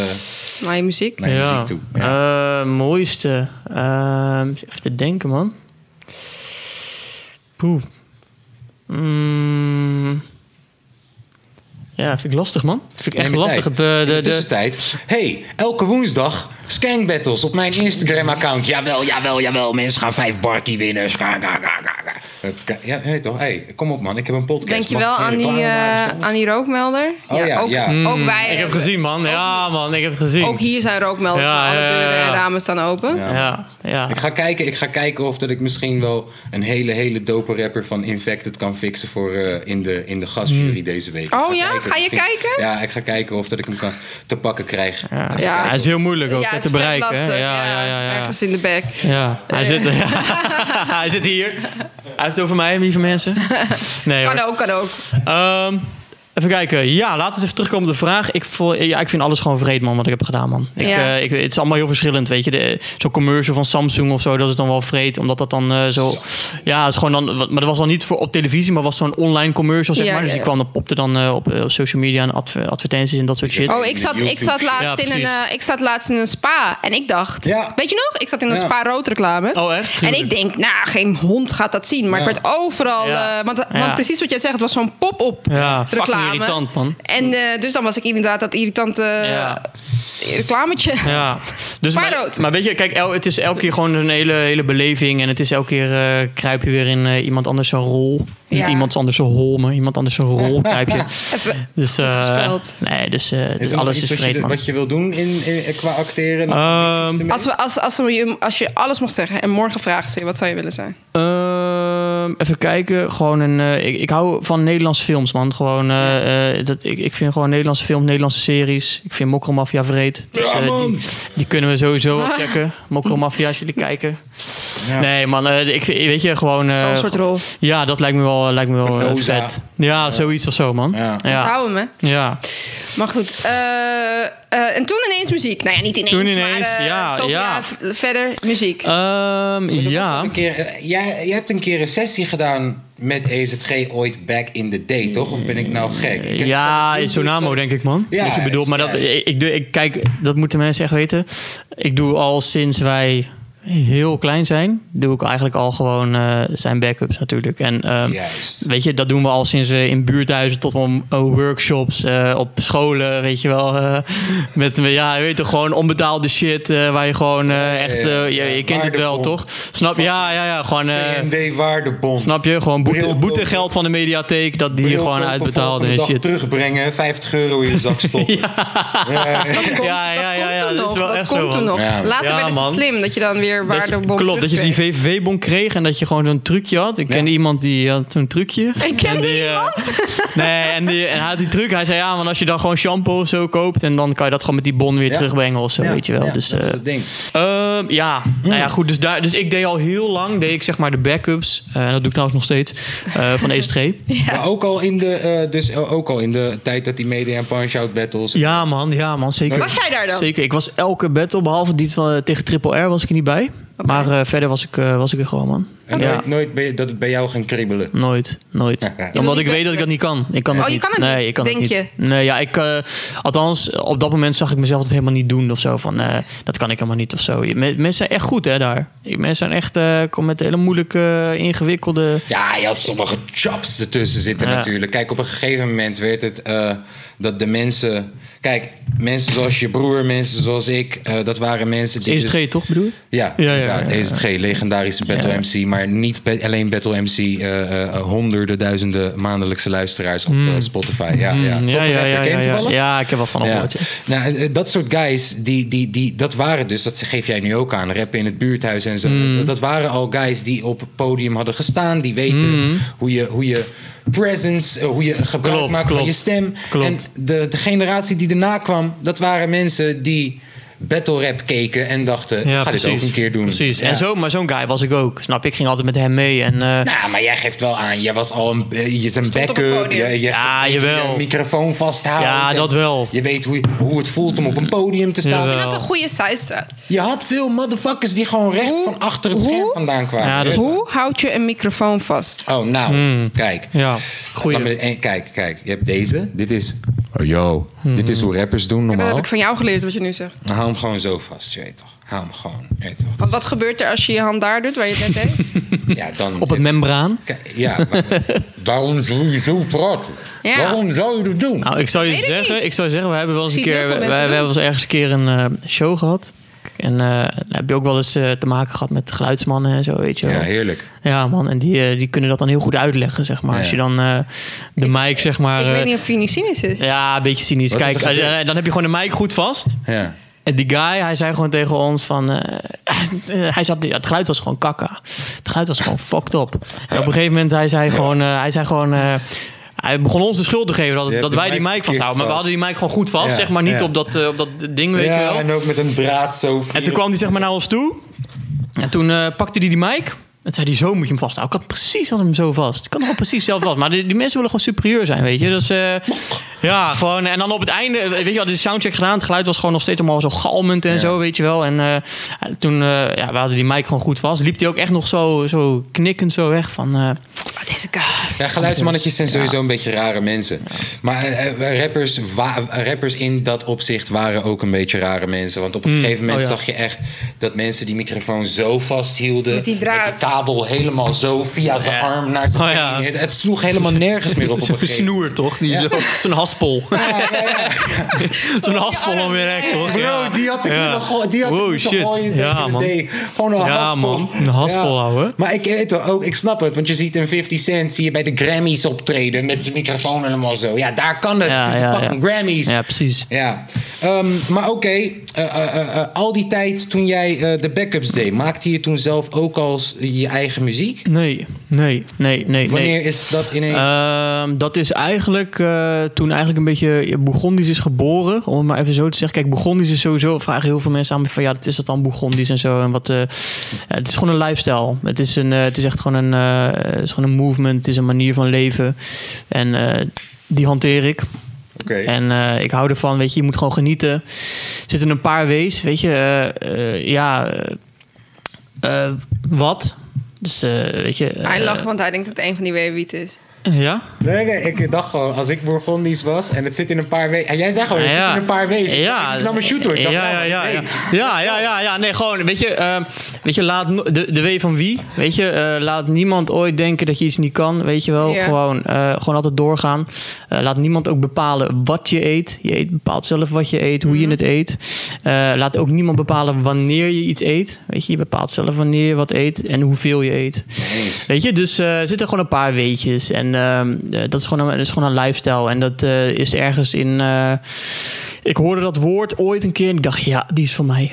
Maar je muziek. naar je muziek toe. Ja. Eh, mooiste. Ehm, even te denken, man. Poeh. Mm. Ja, vind ik lastig, man. Vind ik echt Neem je lastig. tijd. Het, eh, In de, de de, tussentijd. hey, elke woensdag skank battles op mijn Instagram-account. Jawel, jawel, jawel. Mensen gaan vijf barkie winnen. Ska, ga, ga, ga, ga. Eh, Ja, weet toch? hey, kom op man. Ik heb een podcast. Denk je Mag wel ik geen aan die, reclame maken? eh, aan die rookmelder? Oh ja, ook, ja. ook wij. Mm, ik heb gezien, man. Ja, man, ik heb het gezien. Ook hier zijn rookmelders. Ja, maar alle ja, ja, deuren en ja. ramen staan open. Ja. Ja, ja. Ik ga kijken, ik ga kijken of dat ik misschien wel een hele, hele dope rapper van Infected kan fixen voor eh, in, de, in de gastjury Hmm. deze week. Ik Oh ja? Ga je misschien- kijken? Ja, ik ga kijken of dat ik hem kan te pakken krijg. Ja, Even Ja, ja, kijken. hij is heel moeilijk ook Ja, hè, het te is bereiken. vet hè? lastig. Ja, ja, ja, ja. Ergens in de bek. Ja, hij zit, hij zit hier. Hij heeft het over mij, lieve mensen. Nee Kan hoor. ook, kan ook. Ehm, even kijken. Ja, laten we eens even terugkomen op de vraag. Ik, voel, ja, ik vind alles gewoon vreed, man, wat ik heb gedaan, man. Ik, Ja. eh, ik, het is allemaal heel verschillend, weet je. De- Zo'n commercial van Samsung of zo, dat is dan wel vreed. Omdat dat dan eh, zo... Ja, het is gewoon dan... Maar dat was dan niet voor op televisie, maar was zo'n online commercial, zeg Ja, maar. Dus ja, die ja. kwam dan, popte dan eh, op, eh, op social media en adver- advertenties en dat soort shit. Oh, ik zat, ik, zat laatst Ja, in een, precies. eh, ik zat laatst in een spa en ik dacht... Ja. Weet je nog? Ik zat in een Ja. spa-roodreclame. Oh, echt? En ik denk, nou, geen hond gaat dat zien. Maar Ja. ik werd overal... Ja. eh, want, want Ja. precies wat jij zegt, het was zo'n pop-up Ja, fucking reclame. irritant, man. En eh, dus dan was ik inderdaad dat irritante Ja. eh, reclametje. Ja, dus maar, Spaarrood. maar weet je, kijk, el- het is elke keer gewoon een hele, hele beleving. En het is elke keer eh, kruip je weer in eh, iemand anders zijn rol. Niet Ja. iemand anders zijn hol, maar iemand anders zijn rol kruip je. Even- Dus, eh, gespeeld. nee, dus, eh, dus Is er nog alles iets is wat je- vreed, man. Wat je wil doen in, in- eh, qua acteren? Nog Ehm, iets te Als, we, als, als, we, als je alles mocht zeggen en morgen vragen ze je, wat zou je willen zijn? Ehm, even kijken, gewoon een... eh, ik, ik hou van Nederlandse films, man. Gewoon, eh, eh, dat, ik, ik vind gewoon Nederlandse films, Nederlandse series. Ik vind Mokromafia vreed. Dus, Ja, eh, man. die, die kunnen we sowieso wel checken. Mokromafia, als jullie kijken. Ja. Nee, man, eh, ik, weet je, gewoon... eh, Zo'n soort rol. Ja, dat lijkt me wel, lijkt me wel eh, Noza. vet. Ja, zoiets of zo, man. Ja. Ja. ja. Hou hem, hè? Maar goed. eh, eh, en toen ineens muziek. Nou ja, niet ineens, Toen ineens, maar eh, ja, zoveel ja. jaar v- verder muziek. Ehm, Dat was ja. ook een keer, eh, jij, jij hebt een keer een sessie gedaan met EZG ooit back in the day, toch? Of ben ik nou gek? Ik heb- Ja, in Sonamo denk ik, man. Ja, Wat je bedoelt. Maar dat, juist. ik, ik, doe- ik, kijk, dat moeten mensen echt weten. Ik doe al sinds wij heel klein zijn, doe ik eigenlijk al gewoon eh, zijn backups natuurlijk. En ehm, Juist. weet je, dat doen we al sinds we in buurthuizen tot om eh, workshops eh, op scholen, weet je wel. eh, met, ja, je weet toch, gewoon onbetaalde shit eh, waar je gewoon eh, echt, ja, eh, je, ja. je kent het wel, Waardevol. toch? Snap je? Ja, ja, ja, gewoon... eh, VMD waardebond. Snap je? Gewoon boete, Bril boetegeld van de mediatheek, dat die je gewoon Bril kopen, uitbetaalde en volgende dag shit. terugbrengen, 50 euro in je zak stoppen. dat komt, ja, ja, dat ja, komt ja, toen dat is nog. wel Dat echt komt zo, toen man. nog. Ja. Later Ja, werd het man. slim dat je dan weer Dat je- waardebom klopt, dat je die terugkreeg. VVV-bon kreeg en dat je gewoon zo'n trucje had. Ik kende iemand die had zo'n trucje. Ik ken En die eh, iemand. nee, en, die, en hij had die truc. Hij zei, ja, want als je dan gewoon shampoo of zo koopt... en dan kan je dat gewoon met die bon weer Ja. terugbrengen of zo, Ja, weet je wel. ja, dus, dat eh, is het ding. Ehm, ja, nou ja, goed. Dus, daar, dus ik deed al heel lang, deed ik zeg maar de backups. eh, dat doe ik trouwens nog steeds, eh, van ESG. Maar ook al, in de, eh, dus ook al in de tijd dat die media en punch-out battles... Ja man, ja man, zeker. Was jij daar dan? Zeker, ik was elke battle, behalve die van, eh, tegen Triple R was ik er niet bij. bij. Maar eh, verder was ik, eh, was ik er gewoon, man. En Ja. nooit, nooit bij- dat het bij jou ging kriebelen. Nooit, nooit. wil Omdat niet ik weet dat ik dat niet kan. Ik kan Oh, dat je niet. kan het nee, niet, ik kan denk het niet. Nee, ja, ik, eh, althans, op dat moment zag ik mezelf het helemaal niet doen of zo. Van, eh, dat kan ik helemaal niet of zo. Je- men- Mensen zijn echt goed, hè, daar. Mensen zijn echt, eh kom met hele moeilijke, eh, ingewikkelde... Ja, je had sommige jobs ertussen zitten Ja. natuurlijk. Kijk, op een gegeven moment werd het eh, dat de mensen... Kijk, mensen zoals je broer, mensen zoals ik, eh, dat waren mensen... die dus- ESG, toch, bedoel je? Ja, E E Ja, ja, ja, ja, ja. ESG, legendarische Battle Ja. MC. Maar niet be- alleen Battle MC, eh, eh, eh, honderden, duizenden maandelijkse luisteraars op eh, Spotify. Ja, ja. Mm, Toffe rapper, ken je hem ja, toevallig? ja, ik heb wel van hem gehoord. ja. Nou, eh, eh, dat soort guys, die, die, die, dat waren dus, dat geef jij nu ook aan, rappen in het buurthuis en zo. Mm. Dat, dat waren al guys die op het podium hadden gestaan, die weten hoe, je, hoe je presence, eh, hoe je gebruik Mm. Klopt, maakt van klopt. je stem. Klopt. En de, de generatie die erna kwam, dat waren mensen die battle rap keken en dachten, Ja, ga dit ook een keer doen. Precies. Ja. En zo, maar zo'n guy was ik ook. Snap je? Ik ging altijd met hem mee. En, eh, Nou, maar jij geeft wel aan, jij was al een, eh, je zijn Stond op het backup, je, podium. je Ja, je- je jawel. microfoon vasthouden. Ja, En dat wel. Je weet hoe, je- hoe het voelt om op een podium te staan. Jawel. vind dat een goede zijstraat. Je had veel motherfuckers die gewoon recht Hoe? van achter het Hoe? scherm vandaan kwamen. Ja, dat is- Hoe houd je een microfoon vast? Oh, nou, kijk. ja, Laat me goeie. dit- en kijk, kijk. Je hebt deze. Dit is... Oh, yo. Hmm. Dit is hoe rappers doen Dat normaal. heb ik van jou geleerd, wat je nu zegt. Dan hou hem gewoon zo vast, je weet toch. Hou hem gewoon, je weet toch. Want wat gebeurt er als je je hand daar doet, waar je het net deed? Ja, dan... Op het membraan. Kijk, Ja, maar- waarom zou je zo praten? Ja. Waarom zou je dat doen? Nou, ik zou je weet het zeggen, niet. ik zou zeggen, we hebben wel eens een Ik zie het keer, heel wij, veel wij mensen hebben wel eens ergens een keer een eh, show gehad. En eh, daar heb je ook wel eens eh, te maken gehad met geluidsmannen en zo, weet je wel. Ja, heerlijk. Ja, man, en die, eh, die kunnen dat dan heel goed uitleggen, zeg maar. Ja. Als je dan eh, de mic, zeg maar... ik eh, weet niet of je niet cynisch is. ja, een beetje cynisch. Wat is Kijk, er als je- gebeurd? dan heb je gewoon de mic goed vast. Ja. En die guy, hij zei gewoon tegen ons van... eh, eh, hij zat, ja, het geluid was gewoon kakka. Het geluid was gewoon fucked up. En op een gegeven moment, hij zei gewoon... eh, hij, zei gewoon eh, hij begon ons de schuld te geven dat, Je hebt dat de wij die mic mic vasthouden. Maar we vast. hadden die mic gewoon goed vast. Ja, zeg maar niet ja. op, dat, eh, op dat ding, weet je wel. Ja, en ook met een draad zo. En toen kwam hij zeg maar naar ons toe. En toen eh, pakte hij die mic. En zei hij, zo moet je hem vasthouden. Ik had precies had hem zo vast. Ik had hem gewoon precies zelf vast. Maar die, die mensen willen gewoon superieur zijn, weet je. Dus eh, ja, gewoon. En dan op het einde, eh, weet je wel, de soundcheck gedaan. Het geluid was gewoon nog steeds allemaal zo galmend en Ja. zo, weet je wel. En eh, toen, eh, ja, we hadden die mic gewoon goed vast. Liep hij ook echt nog zo, zo knikkend zo weg van... eh, Oh, Deze kaas. Ja, geluidsmannetjes zijn sowieso een beetje rare mensen. Maar eh, eh, rappers, wa- rappers in dat opzicht waren ook een beetje rare mensen. Want op een gegeven moment oh ja. zag je echt dat mensen die microfoon zo vasthielden. Met die draad. de kabel helemaal zo via zijn arm naar zijn Oh pen. ja. het, het sloeg helemaal nergens meer op. op een gegeven moment. snoer, toch? Die zo- Zo'n haspel. Zo'n haspel om weer recht, toch? Ja. Bro, die had ik Ja. nog gewoon, die had ik Wow, moeten shit. gooien tegen Ja, de man. day. Gewoon een Ja, haspel. man. Een haspel houden. Maar ik, weet wel, ook, ik snap het, want je ziet in 50 Cent zie je bij de Grammys optreden met zijn microfoon helemaal zo. Ja, daar kan het. Ja, het is ja, de ja. fucking Grammys. Ja, precies. Ja, Ehm, maar oké, eh, eh, eh, eh, al die tijd toen jij eh, de backups deed, maakte je toen zelf ook als je eigen muziek? Nee, nee, nee, nee. Wanneer nee. is dat ineens? Ehm, dat is eigenlijk eh, toen eigenlijk een beetje Bourgondisch is geboren. Om het maar even zo te zeggen. Kijk, Bourgondisch is sowieso... Vragen heel veel mensen aan me van... Ja, dat is dat dan Bourgondisch en zo. En wat, eh, eh, het is gewoon een lifestyle. Het is, een, eh, het is echt gewoon een, eh, het is gewoon een movement. Het is een manier van leven. En eh, die hanteer ik. Oké. En eh, ik hou ervan, weet je, je moet gewoon genieten. Er zitten een paar wees, weet je, eh, eh, ja, eh, eh, wat? Dus, eh, weet je... eh, Hij lacht, want hij denkt dat het een van die weewiet is. Ja? Nee, nee, ik dacht gewoon, als ik Bourgondisch was en het zit in een paar weken. En jij zei gewoon, het Ja. zit in een paar weken. Ja. Ik nam een shooter. Ik Ja, dacht, ja, nou, ja, hey. ja. ja, ja, ja, ja. Nee, gewoon, weet je, ehm, weet je laat no- de, de W van wie, weet je, eh, laat niemand ooit denken dat je iets niet kan, weet je wel. Ja. Gewoon, eh, gewoon altijd doorgaan. Eh, laat niemand ook bepalen wat je eet. Je eet, bepaalt zelf wat je eet, hoe Mhm. je het eet. Eh, laat ook niemand bepalen wanneer je iets eet. Weet je, je bepaalt zelf wanneer je wat eet en hoeveel je eet. Weet je, dus eh, er zitten gewoon een paar weetjes. En ehm, eh, dat, is gewoon een, dat is gewoon een lifestyle. En dat eh, is ergens in... eh, ik hoorde dat woord ooit een keer en ik dacht, ja, die is van mij.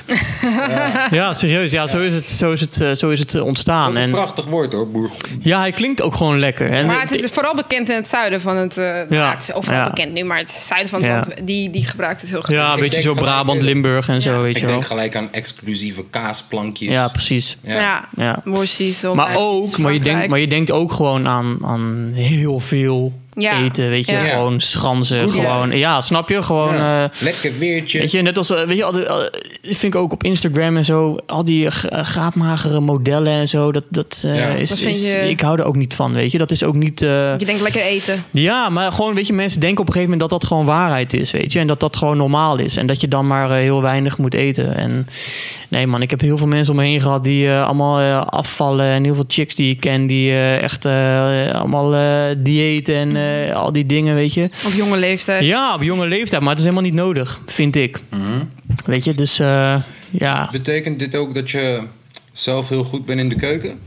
Ja, serieus. Ja, Zo, is het, zo, is het, eh, zo is het eh, ontstaan. Wat een En, prachtig woord hoor, Bourgondisch. ja, hij klinkt ook gewoon lekker. En Maar het is vooral bekend in het zuiden van het... eh ja, het is overal ja. bekend nu, maar het zuiden van het Ja. land, die, die gebruikt het heel goed. Ja, een Ik beetje denk zo gelijk, Brabant, eh, Limburg en zo, weet Ik je wel. denk gelijk aan exclusieve kaasplankjes. Ja, precies. Ja, ja. Ja. Mooi season, Maar uit ook, maar je, Frankrijk. denkt, maar je denkt ook gewoon aan, aan heel veel Ja. eten, weet je, Ja. gewoon schansen, Goed, ja. gewoon, ja. snap je, gewoon, Ja. eh, Lekker weertje. weet je, net als, eh, weet je, al die- al- ik vind ik ook op Instagram en zo, al die eh, g- eh, gaatmagere modellen en zo, dat, dat eh, Ja. is, Dat vind is- je- ik hou er ook niet van, weet je, dat is ook niet, eh, Je denkt lekker eten. ja, maar gewoon, weet je, mensen denken op een gegeven moment dat dat gewoon waarheid is, weet je. En dat dat gewoon normaal is. En dat je dan maar eh, heel weinig moet eten. En nee man, ik heb heel veel mensen om me heen gehad die eh, allemaal eh, afvallen. En heel veel chicks die ik ken, die eh, echt eh, allemaal eh, diëten Mm. en eh, al die dingen, weet je. Op jonge leeftijd. Ja, op jonge leeftijd, maar het is helemaal niet nodig, vind ik. Weet je, dus eh, ja, Betekent dit ook dat je zelf heel goed bent in de keuken?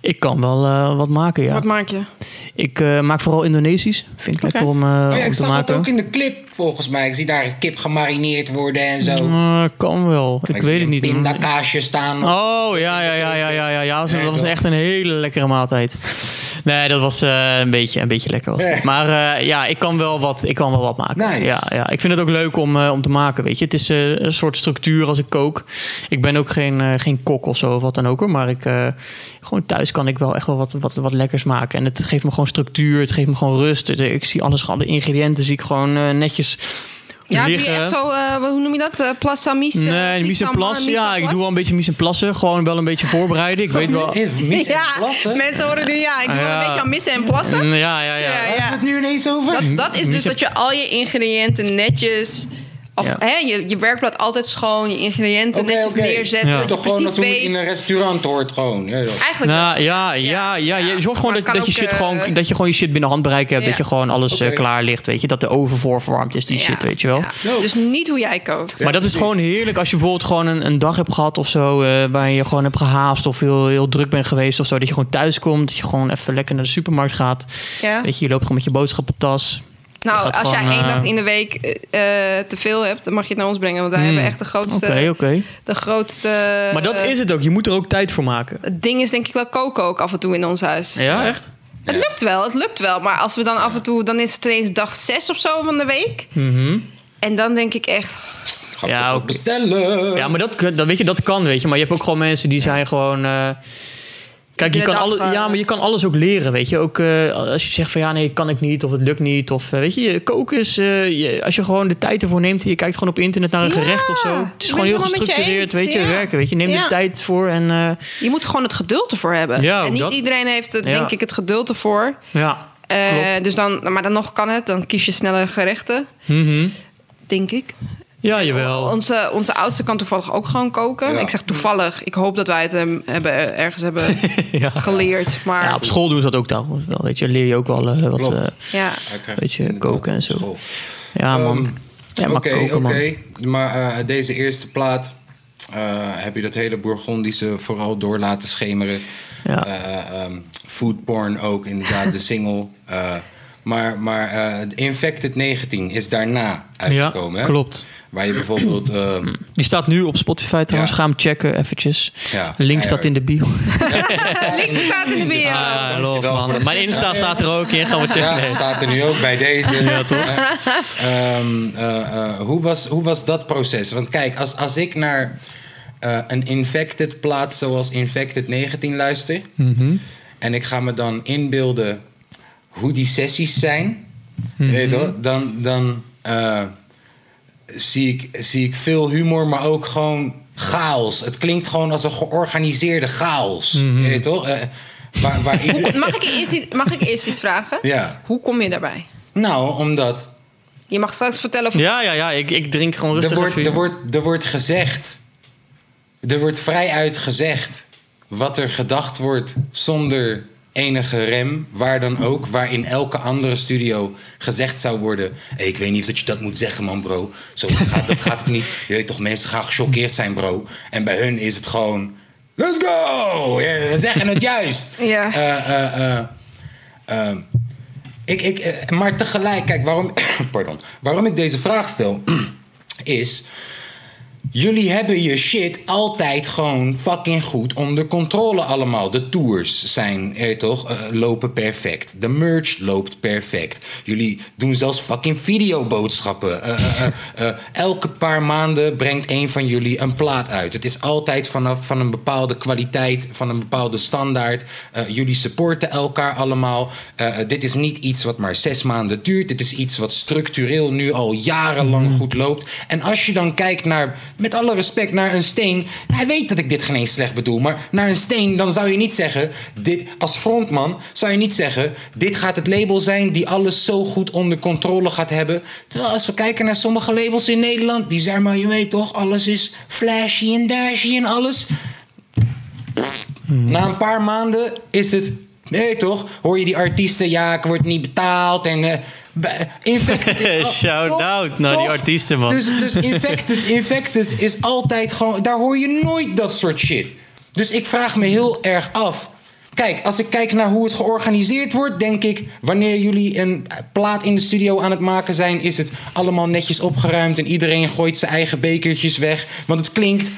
ik kan wel eh, wat maken, ja. Wat maak je? Ik eh, maak vooral Indonesisch, vind ik Oké. lekker om, eh, Oh ja, om ik te zag dat maken. ook in de clip volgens mij. Ik zie daar kip gemarineerd worden en zo. Eh, kan wel, ik, zie weet het een niet. Pindakaasje staan. Oh, ja, ja, ja, ja, ja, ja. ja. Dat, was, dat was echt een hele lekkere maaltijd. Nee, dat was eh, een, beetje, een beetje lekker. Was het. Ja. Maar eh, ja, ik kan wel wat, ik kan wel wat maken. Nice. Ja, ja. Ik vind het ook leuk om, eh, om te maken, weet je. Het is eh, een soort structuur als ik kook. Ik ben ook geen, eh, geen kok of zo of wat dan ook. Hoor. Maar ik, eh, gewoon thuis kan ik wel echt wel wat, wat, wat lekkers maken. En het geeft me gewoon structuur. Het geeft me gewoon rust. Ik zie alles, alle ingrediënten zie ik gewoon eh, netjes Ja, doe je liggen. echt zo, eh, wat- hoe noem je dat? Eh plassa mise? Nee, de mise en place. Ja, ik doe wel een beetje mise en place. Gewoon wel een beetje voorbereiden. Ik weet wel. Is mis en Ja, plassen? mensen horen nu, ja, ik doe Ah, wel ja. een beetje aan missen en plassen. Mm, Ja, ja, ja. Ja, Hebben we het nu ineens over? Dat, dat is dus Mise- dat je al je ingrediënten netjes... Of, Ja. hè, je, je werkblad altijd schoon, je ingrediënten Oké, netjes oké. neerzetten. Ja. Dat je Toch gewoon precies dat hoe het weet. in een restaurant hoort gewoon. Ja, dat- Eigenlijk Nou, ja, ja, Ja, ja, Je zorgt gewoon maar dat, kan dat, je ook, shit eh, gewoon, dat je gewoon je shit binnen handbereik hebt. Ja. Dat je gewoon alles eh, Oké. klaar ligt, weet je. Dat de oven voorverwarmd is, die Ja, shit, weet je wel. ja. Dus niet hoe jij kookt. Maar dat is gewoon heerlijk als je bijvoorbeeld gewoon een, een dag hebt gehad of zo. eh, waarin je gewoon hebt gehaast of heel, heel druk bent geweest of zo. Dat je gewoon thuis komt. Dat je gewoon even lekker naar de supermarkt gaat. Ja. Weet je, je loopt gewoon met je boodschappentas. je Nou, gaat als jij gewoon, één eh, dag in de week eh, eh, te veel hebt, dan mag je het naar ons brengen. Want wij hebben echt de Oké, grootste... Hmm. oké. De grootste Maar dat eh, is het ook. Je moet er ook tijd voor maken. Het ding is denk ik wel koken ook af en toe in ons huis. Ja, echt? Het lukt wel, het lukt wel. Maar als we dan af en toe... Dan is het ineens dag zes of zo van de week. Hmm. Mhm. En dan denk ik echt... Ga Ja, toch wat oké. bestellen. Ja, maar dat, dat, weet je, dat kan, weet je. Maar je hebt ook gewoon mensen die zijn gewoon... eh, kijk, je Iedere kan, dag, alles, eh, ja, maar je kan alles ook leren, weet je. Ook eh, als je zegt van ja, nee, kan ik niet of het lukt niet. Of eh, weet je, je, koken is... eh, je- als je gewoon de tijd ervoor neemt en je kijkt gewoon op internet naar een Ja, gerecht of zo. ik Het ben is gewoon heel het helemaal met je gestructureerd, eens, weet je, ja. werken. Weet je, neem Ja. de tijd voor en... eh, Je moet gewoon het geduld ervoor hebben. Ja, ook en niet dat. iedereen heeft, het, Ja. denk ik, het geduld ervoor. ja, Eh, klopt. dus dan, maar dan nog kan het. Dan kies je sneller gerechten, Mhm. denk ik. Ja, jawel. Onze, onze oudste kan toevallig ook gewoon koken. Oh. Ja. Ik zeg toevallig. Ik hoop dat wij het hem hebben, eh, ergens hebben Ja. geleerd. Maar ja, op school doen ze dat ook trouwens wel, weet je. Leer je ook wel eh, wat... Klopt. eh, ja. Hij krijgt Weet je, inderdaad koken en zo. school. ja, man. ja, maar Oké, oké. koken, man. Maar eh, deze eerste plaat eh, heb je dat hele Bourgondische vooral door laten schemeren. Ja. Eh, ehm, food porn ook, inderdaad, de single. Eh, maar maar eh, Infected 19 is daarna uitgekomen. Ja, hè? klopt. Waar je bijvoorbeeld... eh, Die staat nu op Spotify trouwens. Ja. Ga hem checken eventjes. Ja. Link staat in de bio. Eh, Link staat in de bio. Ah, love, Dankjewel voor man. de- Mijn Insta staat er ook in. Gaan we checken. ja, Nee. staat er nu ook bij deze. Ja, toch? Eh, ehm, eh, eh, hoe, was, hoe was dat proces? Want kijk, als, als ik naar eh, een infected plaats zoals Infected 19 luister... en ik ga me dan inbeelden hoe die sessies zijn... weet je wel, dan, dan eh, zie, ik, zie ik veel humor, maar ook gewoon chaos. Het klinkt gewoon als een georganiseerde chaos. Weet je toch? Eh, waar, waar iedereen- Mag ik, eerst iets, mag ik eerst iets vragen? Ja. Hoe kom je daarbij? Nou, omdat... Je mag straks vertellen of Ja, ja, ja. Ik, ik drink gewoon rustig Er wordt, even. er, wordt, er wordt gezegd. Er wordt vrijuit gezegd wat er gedacht wordt zonder enige rem, waar dan ook, waar in elke andere studio gezegd zou worden. "Hey, ik weet niet of dat je dat moet zeggen, man, bro. Zo gaat, dat gaat het niet. Je weet toch, mensen gaan gechoqueerd zijn, bro. En bij hun is het gewoon. Let's go! Ja, we zeggen het juist. Ja. Eh, eh, eh, ehm, ik, ik, eh, maar tegelijk, kijk, waarom, pardon, waarom ik deze vraag stel, is Jullie hebben je shit altijd gewoon fucking goed onder controle allemaal. De tours zijn er toch, eh, lopen perfect. De merch loopt perfect. Jullie doen zelfs fucking videoboodschappen. Eh, eh, eh, eh, elke paar maanden brengt een van jullie een plaat uit. Het is altijd vanaf van een bepaalde kwaliteit, van een bepaalde standaard. Eh, jullie supporten elkaar allemaal. Eh, eh, dit is niet iets wat maar zes maanden duurt. Dit is iets wat structureel nu al jarenlang goed loopt. En als je dan kijkt naar, met alle respect, naar een steen. Hij weet dat ik dit geen eens slecht bedoel, maar naar een steen, dan zou je niet zeggen. Dit, als frontman zou je niet zeggen. Dit gaat het label zijn die alles zo goed onder controle gaat hebben. Terwijl als we kijken naar sommige labels in Nederland, die zijn maar, je weet toch, alles is flashy en dashy en alles. Mhm. Na een paar maanden is het. Nee, toch? Hoor je die artiesten? Ja, ik word niet betaald. En. eh, b- Infected is. al- Shout toch? out naar die Toch? artiesten, man. Dus, dus infected, infected is altijd gewoon. Daar hoor je nooit dat soort shit. Dus ik vraag me heel erg af. Kijk, als ik kijk naar hoe het georganiseerd wordt, denk ik. Wanneer jullie een plaat in de studio aan het maken zijn, is het allemaal netjes opgeruimd en iedereen gooit zijn eigen bekertjes weg. Want het klinkt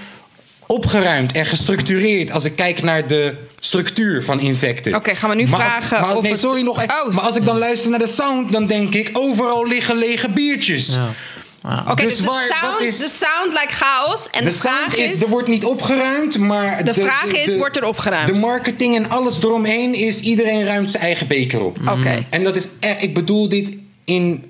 opgeruimd en gestructureerd als ik kijk naar de structuur van Infected. Oké, gaan we nu Maar als- vragen maar, of nee, het- sorry nog. even. Oh. Maar als ik dan luister naar de sound, dan denk ik overal liggen lege biertjes. Ja. Oké, Dus dus, waar- de, wat sound, is- de sound lijkt chaos. En de, De vraag sound is... is, er wordt niet opgeruimd, maar... De vraag is, wordt er opgeruimd? De marketing en alles eromheen is, iedereen ruimt zijn eigen beker op. Oké. Mm. En dat is echt, ik bedoel dit in,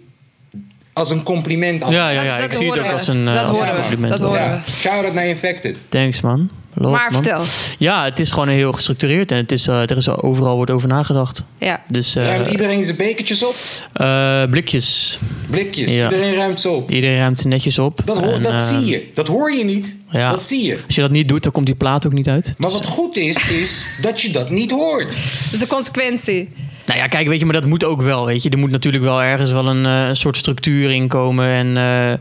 als een compliment. al. Ja, ja, ja. Dat- Ik dat zie het ook horen we. als een, eh, Dat als een horen we. compliment. Dat hoor. horen Ja. Shout-out naar Infected. Thanks, man. Love, Maar man. vertel. Ja, het is gewoon heel gestructureerd en het is, eh, er is overal wordt over nagedacht. Ja. Dus eh, ruimt iedereen zijn bekertjes op? eh, blikjes. Blikjes. ja. Iedereen ruimt ze op. Iedereen ruimt ze netjes op. Dat, hoor, En, dat eh, zie je. Dat hoor je niet. ja. Dat zie je. Als je dat niet doet, dan komt die plaat ook niet uit. Maar wat goed is, is dat je dat niet hoort. Dus de consequentie. Nou ja, kijk, weet je, maar dat moet ook wel, weet je. Er moet natuurlijk wel ergens wel een, eh, een soort structuur in komen en eh,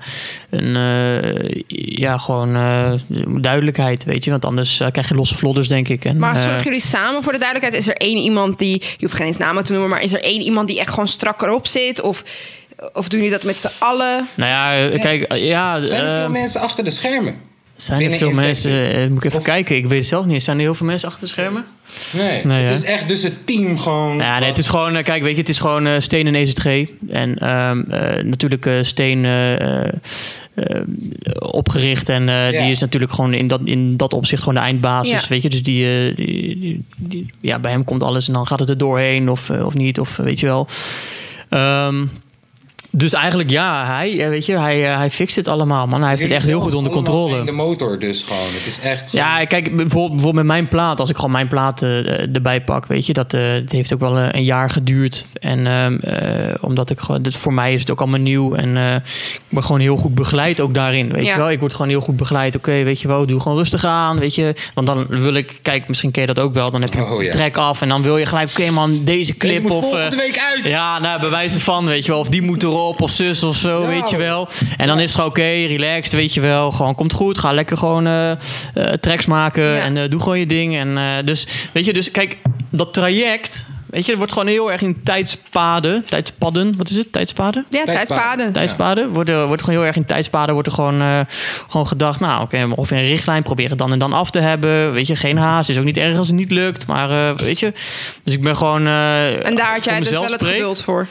een, eh, ja, gewoon eh, duidelijkheid, weet je. Want anders eh, krijg je losse vlodders, denk ik. En, Maar eh, zorgen jullie samen voor de duidelijkheid? Is er één iemand die, je hoeft geen eens namen te noemen, maar is er één iemand die echt gewoon strak erop zit? Of, of doen jullie dat met z'n allen? nou ja, eh, kijk, eh, ja... Zijn er eh, veel mensen achter de schermen? Zijn er Binnen veel Infected? mensen... eh, moet ik even Of- kijken, ik weet het zelf niet. Zijn er heel veel mensen achter de schermen? Nee. Nee, het hè? is echt dus het team gewoon... Nou, ja, nee, het is gewoon, eh, kijk, weet je, het is gewoon eh, Steen en EZG. En ehm, eh, natuurlijk eh, Steen eh, eh, opgericht. En eh, Ja. die is natuurlijk gewoon in dat, in dat opzicht gewoon de eindbasis, Ja. weet je. Dus die, eh, die- die- die- ja, bij hem komt alles en dan gaat het er doorheen of, eh, of niet, of eh, weet je wel. Ehm, dus eigenlijk ja, hij, eh, weet je, hij, eh, hij fixt het allemaal, man. Hij heeft het echt heel goed onder Allemaal controle. zijn de motor dus gewoon. Het is echt... Ja, kijk, bijvoorbeeld, bijvoorbeeld met mijn plaat, als ik gewoon mijn plaat eh, erbij pak, weet je, dat eh, het heeft ook wel eh, een jaar geduurd. En ehm, eh, omdat ik gewoon, dus voor mij is het ook allemaal nieuw en eh, ik ben gewoon heel goed begeleid ook daarin, weet Ja. je wel. Ik word gewoon heel goed begeleid. Oké, weet je wel, doe gewoon rustig aan, weet je. Want dan wil ik, kijk, misschien ken je dat ook wel, dan heb je Oh, ja. een track af en dan wil je gelijk, oké man, deze Deze clip moet of... eh, volgende week uit. ja, nou, bij wijze van, weet je wel. Of die moet erop, of zus of zo, Ja, weet je wel. En dan is het gewoon oké, relaxed, weet je wel. Gewoon komt goed, ga lekker gewoon eh, eh, tracks maken Ja. en eh, doe gewoon je ding. En eh, dus, weet je, dus kijk, dat traject, weet je, er wordt gewoon heel erg in tijdspaden, tijdspadden, wat is het, tijdspaden? Ja, Tijdspaden. tijdspaden. Tijdspaden. Wordt, er- wordt gewoon heel erg in tijdspaden wordt er gewoon, eh, gewoon gedacht. Nou, oké, of in een richtlijn proberen het dan en dan af te hebben. Weet je, geen haast. Is ook niet erg als het niet lukt. Maar eh, weet je, dus ik ben gewoon. eh, En daar had voor jij dus mezelf wel het spreek. geduld voor.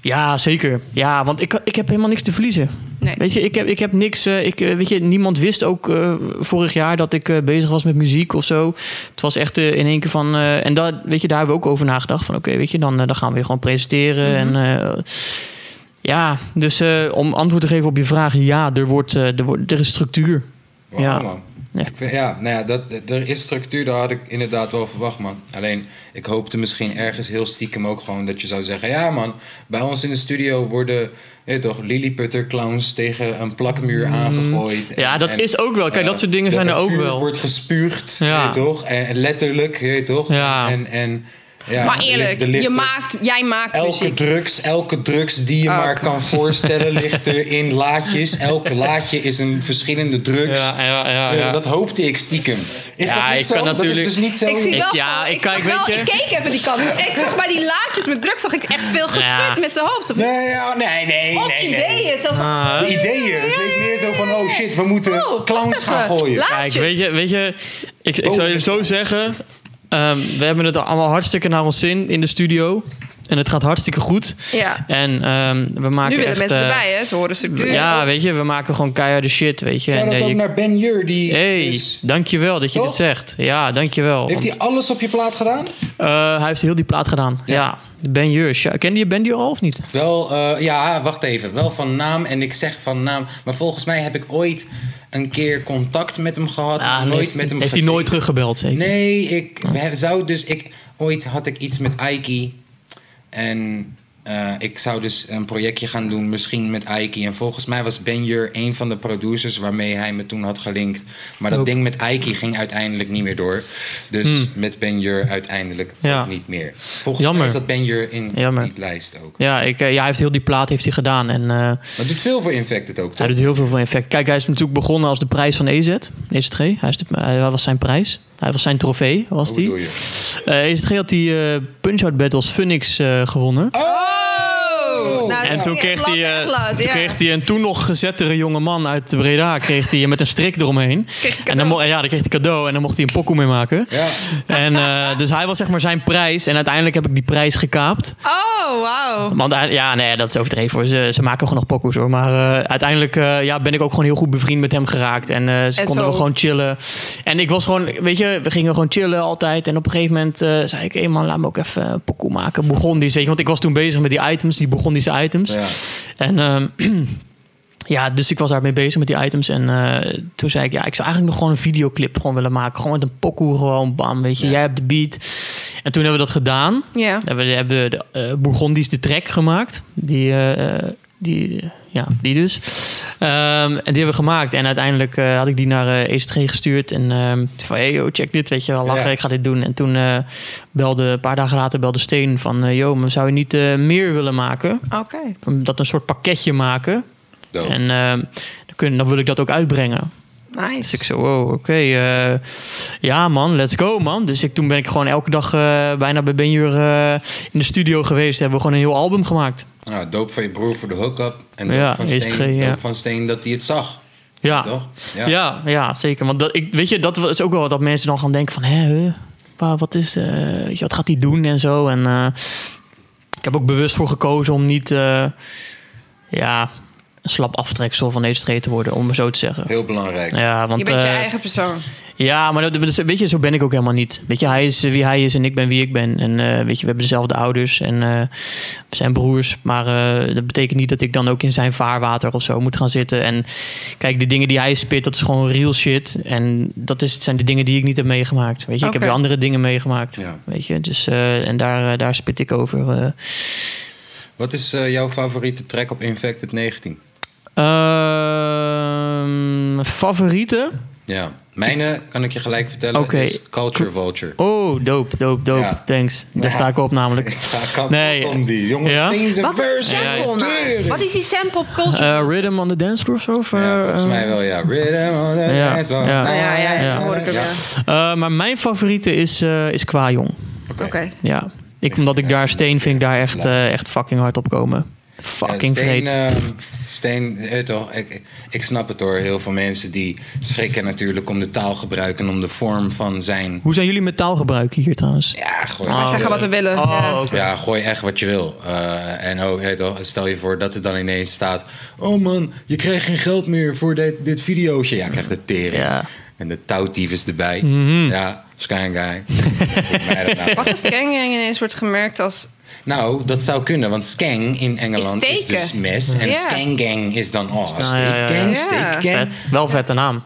Ja, zeker. Ja, want ik, ik heb helemaal niks te verliezen. Nee. Weet je, ik heb, ik heb niks. eh, ik, eh, weet je, niemand wist ook eh, vorig jaar dat ik eh, bezig was met muziek of zo. Het was echt eh, in één keer van. eh, en dat, weet je, daar hebben we ook over nagedacht. Van oké, weet je, dan, eh, dan gaan we weer gewoon presenteren. En eh, ja, dus eh, om antwoord te geven op je vraag, ja, er, wordt, eh, er, wordt, er is structuur. Wauw, Ja. man. Ja. Ik vind- ja, nou ja, dat, dat- er is structuur, daar had ik inderdaad wel verwacht, man. Alleen, ik hoopte misschien ergens heel stiekem ook gewoon dat je zou zeggen... Ja, man, bij ons in de studio worden, weet toch, Lilliputter-clowns tegen een plakmuur aangegooid. Mhm. Ja, dat is ook wel. Kijk, eh, dat soort dingen zijn dat er het ook vuur wel. wordt gespuugd, Ja. weet toch? En en letterlijk, weet toch? Ja. En, en Ja, maar er ligt- eerlijk, er ligt je er- maakt, jij maakt Elke muziek. drugs, elke drugs die je Oh, maar God. kan voorstellen ligt er in laadjes. Elke laadje is een verschillende drugs. Ja, ja, ja. Eh, ja. dat hoopte ik stiekem. Is Ja, dat niet ik zo? kan natuurlijk- Dat is dus niet zo. Ik zie Ik- wel, ja, gewoon- ik kijk, zag weet wel- je- ik keek even die kant. op. Ik zag bij die laadjes met drugs, zag ik echt veel geschud Ja. met zijn hoofd. Of, Nee, ja, nee, nee. of nee, nee. ideeën. Zo van, Ah, De ideeën. Het leek meer zo van, oh shit, we moeten Oh, clowns even, gaan gooien. Laadjes. Kijk, weet je, weet je ik, ik Oh. zou je zo zeggen. ehm, we hebben het allemaal hartstikke naar ons zin in de studio. En het gaat hartstikke goed. Ja. En ehm, we maken Nu willen echt, mensen eh, erbij, hè? Ze horen structuur. Ja, weet je, we maken gewoon keiharde shit, weet je. Zou En, dat eh, ook je- naar Ben Jur, die hey, is- dankjewel dat je Toch? dit zegt. Ja, dankjewel. Heeft Want, hij alles op je plaat gedaan? eh, hij heeft heel die plaat gedaan. Ja. Ben Jur. Sja- Kende je Ben Jur al of niet? Wel, eh, ja, wacht even. Wel van naam en ik zeg van naam. Maar volgens mij heb ik ooit een keer contact met hem gehad. Ah, nooit heeft, met hem Heeft hij gezien. nooit teruggebeld, zeker? Nee, ik Oh. we- zou dus... Ik, ooit had ik iets met Aiki. En eh, ik zou dus een projectje gaan doen, misschien met Aiki. En volgens mij was Benjur een van de producers waarmee hij me toen had gelinkt. Maar dat Ook. Hmm. ding met Aiki ging uiteindelijk niet meer door. Dus met Benjur uiteindelijk Ja. ook niet meer. Volgens Jammer. mij is dat Benjur in Jammer. die lijst ook. Ja, ik, eh, ja, hij heeft heel die plaat heeft hij gedaan. En eh, Maar doet veel voor Infected ook, Hij toch? doet heel veel van effect. Kijk, hij is natuurlijk begonnen als de prijs van E EZ, EZG. Hij, is de, hij was zijn prijs. Hij was zijn trofee, was Hoe die. bedoel je? Eh, EZG had die eh, Punch-Out Battles Phoenix eh, gewonnen. Oh! Nou, En dat toen ging echt kreeg, hij, lang, eh, echt lang, toen ja. kreeg hij een toen nog gezettere jonge man uit Breda kreeg hij met een strik eromheen. Kreeg hij En dan, mo- ja, dan kreeg hij cadeau en dan mocht hij een pokoe mee maken. Ja. En, eh, dus hij was zeg maar zijn prijs. En uiteindelijk heb ik die prijs gekaapt. Oh, wauw. Want uh, ja, nee, dat is overdreven hoor. Ze, ze maken gewoon nog pokoes hoor. Maar eh, uiteindelijk eh, ja, ben ik ook gewoon heel goed bevriend met hem geraakt. En eh, ze En konden zo. we gewoon chillen. En ik was gewoon, weet je, we gingen gewoon chillen altijd. En op een gegeven moment eh, zei ik, hé man, laat me ook even een pokoe maken. Burgondisch, weet je. Want ik was toen bezig met die items, die Burgondische items. Ja. En ehm, ja, dus ik was daarmee bezig met die items. En eh, toen zei ik, ja, ik zou eigenlijk nog gewoon een videoclip gewoon willen maken. Gewoon met een pokoe, gewoon bam, weet je. Jij hebt de beat. En toen hebben we dat gedaan. Ja. Hebben we hebben we de eh, Bourgondisch de track gemaakt. Die, eh, eh, die, ja, die dus. Ehm, en die hebben we gemaakt. En uiteindelijk eh, had ik die naar eh ESG gestuurd. En ehm, toen van, hey, yo, check dit, weet je wel. Lachen, Ja. ik ga dit doen. En toen eh, belde, een paar dagen later belde Steen van... eh, yo, maar zou je niet eh, meer willen maken? Oké. Van Dat een soort pakketje maken. Dope. En ehm, dan, kun, dan wil ik dat ook uitbrengen. Dus Nice. ik zo, wow, oké. eh, ja, man, let's go, man. Dus ik, toen ben ik gewoon elke dag eh, bijna bij Benjur eh, in de studio geweest. Hebben we gewoon een heel album gemaakt. Ja, doop van je broer voor de hook-up. En doop, Ja, van, is Steen, het geen, ja. doop van Steen dat hij het zag. Ja, Toch? Ah. ja. ja, zeker. Want dat, ik, weet je, dat is ook wel wat dat mensen dan gaan denken van... Hè, huh? Wa- wat, is, eh, weet je, wat gaat hij doen en zo. En eh, ik heb ook bewust voor gekozen om niet... eh, ja, een slap aftreksel van deze street te worden, om het zo te zeggen. Heel belangrijk. Ja, want, Je bent je eh, eigen persoon. Ja, maar dat, dat- weet je, zo ben ik ook helemaal niet. Weet je, hij is eh, wie hij is en ik ben wie ik ben. En eh, weet je, we hebben dezelfde ouders en eh, we zijn broers. Maar eh, dat betekent niet dat ik dan ook in zijn vaarwater of zo moet gaan zitten. En kijk, de dingen die hij spit, dat is gewoon real shit. En dat is, zijn de dingen die ik niet heb meegemaakt. Weet je, ik heb Oké. weer andere dingen meegemaakt. Ja. Weet je, dus eh, en daar, eh, daar spit ik over. eh. Wat is eh, jouw favoriete track op Infected 19? Ehm, favorieten? Ja. Mijne, kan ik je gelijk vertellen, Oké. is Culture Vulture. Oh, dope, dope, dope. Ja. Thanks. Daar Ja. sta ik op namelijk. Ik ga kapot Nee. om die. Jongens, Ja? Steen zijn Wat is verse. die Ja, ja. sample nou? Wat is die sample op culture? Eh, Rhythm on the Dance Floor of zo? Of, Ja, eh, volgens eh, mij wel, ja. Rhythm on the Ja, dance floor. ja. Ah, ja, ja, ja, Ja. hoor ik hem, ja. Eh, maar mijn favoriete is, eh is Kwa Jong. Oké. Oké. Ja. Ik, omdat ik daar steen vind ik daar echt, eh, echt fucking hard op komen. Fucking Ja, Steen, vreed. ehm, Steen, eh, toch, ik, ik- ik snap het hoor. Heel veel mensen die schrikken natuurlijk om de taalgebruik en om de vorm van zijn... Hoe zijn jullie met taalgebruik hier trouwens? Ja, gooi, Oh. Wij zeggen wat we willen. ja. Oh, oké. ja, gooi echt wat je wil. Eh, en ook, eh, toch, stel je voor dat het dan ineens staat... Oh man, je krijgt geen geld meer voor dit, dit videootje. Ja, ik krijg de tering. Ja. En de touwtief is erbij. Mhm. Ja, Sky Guy. Hoe mij dat nou? Wat als gangrang ineens wordt gemerkt als... Nou, dat zou kunnen, want skang in Engeland Is is, steken. dus mes. En Ja. Nou, skanggang is dan, oh, steekgang, ja, ja, ja. steekgang. Vet. Wel vette naam.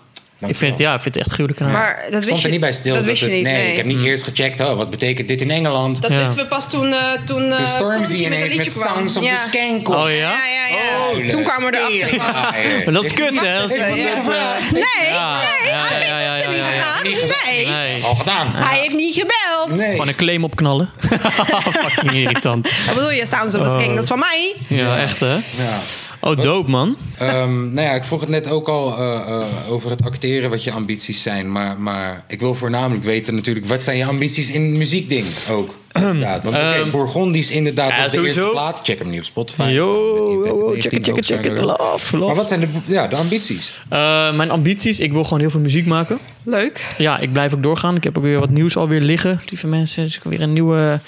Ik vind, ja, ik vind het echt gruwelijke naam. Maar dat Ik wist stond je, er niet bij stil. Dat wist het, je niet, nee, nee. Mm. ik heb niet eerst gecheckt, oh, wat betekent dit in Engeland? Dat Ja. wisten we pas toen, eh, toen eh, de Stormzy Stormzy met ineens een met liedje kwam. Sounds of ja. the Skank op. Oh, Ja, ja? ja, ja. Holy toen kwamen we erachter tering. van... Ah, ja. Maar dat is kut, hè? Dat is Ja, kut. ja. gevraagd? Nee, Ja, nee, ja, hij ja, heeft ja, het er niet ja, ja. gedaan. heeft niet gezegd. Nee. Nee. Al gedaan. Hij heeft niet gebeld. Nee. Gewoon een claim opknallen. Fucking irritant. Wat bedoel je? Sounds of a Oh. King, dat is van mij. Ja, echt hè? Ja. Oh, dope man. Ehm, nou ja, ik vroeg het net ook al eh, eh, over het acteren, wat je ambities zijn. Maar, maar ik wil voornamelijk weten natuurlijk, wat zijn je ambities in het muziekding ook? Inderdaad. Want oké, Ehm, Bourgondisch inderdaad ja, was de eerste sowieso. plaat. Check hem nu op Spotify. Samen Yo, met yo, Event check it, 19 check ook it, check zijn it. er ook. Love, love. Maar wat zijn de, ja, de ambities? Eh, mijn ambities, ik wil gewoon heel veel muziek maken. Leuk. Ja, ik blijf ook doorgaan. Ik heb ook weer wat nieuws alweer liggen, lieve mensen. Dus ik heb weer een nieuwe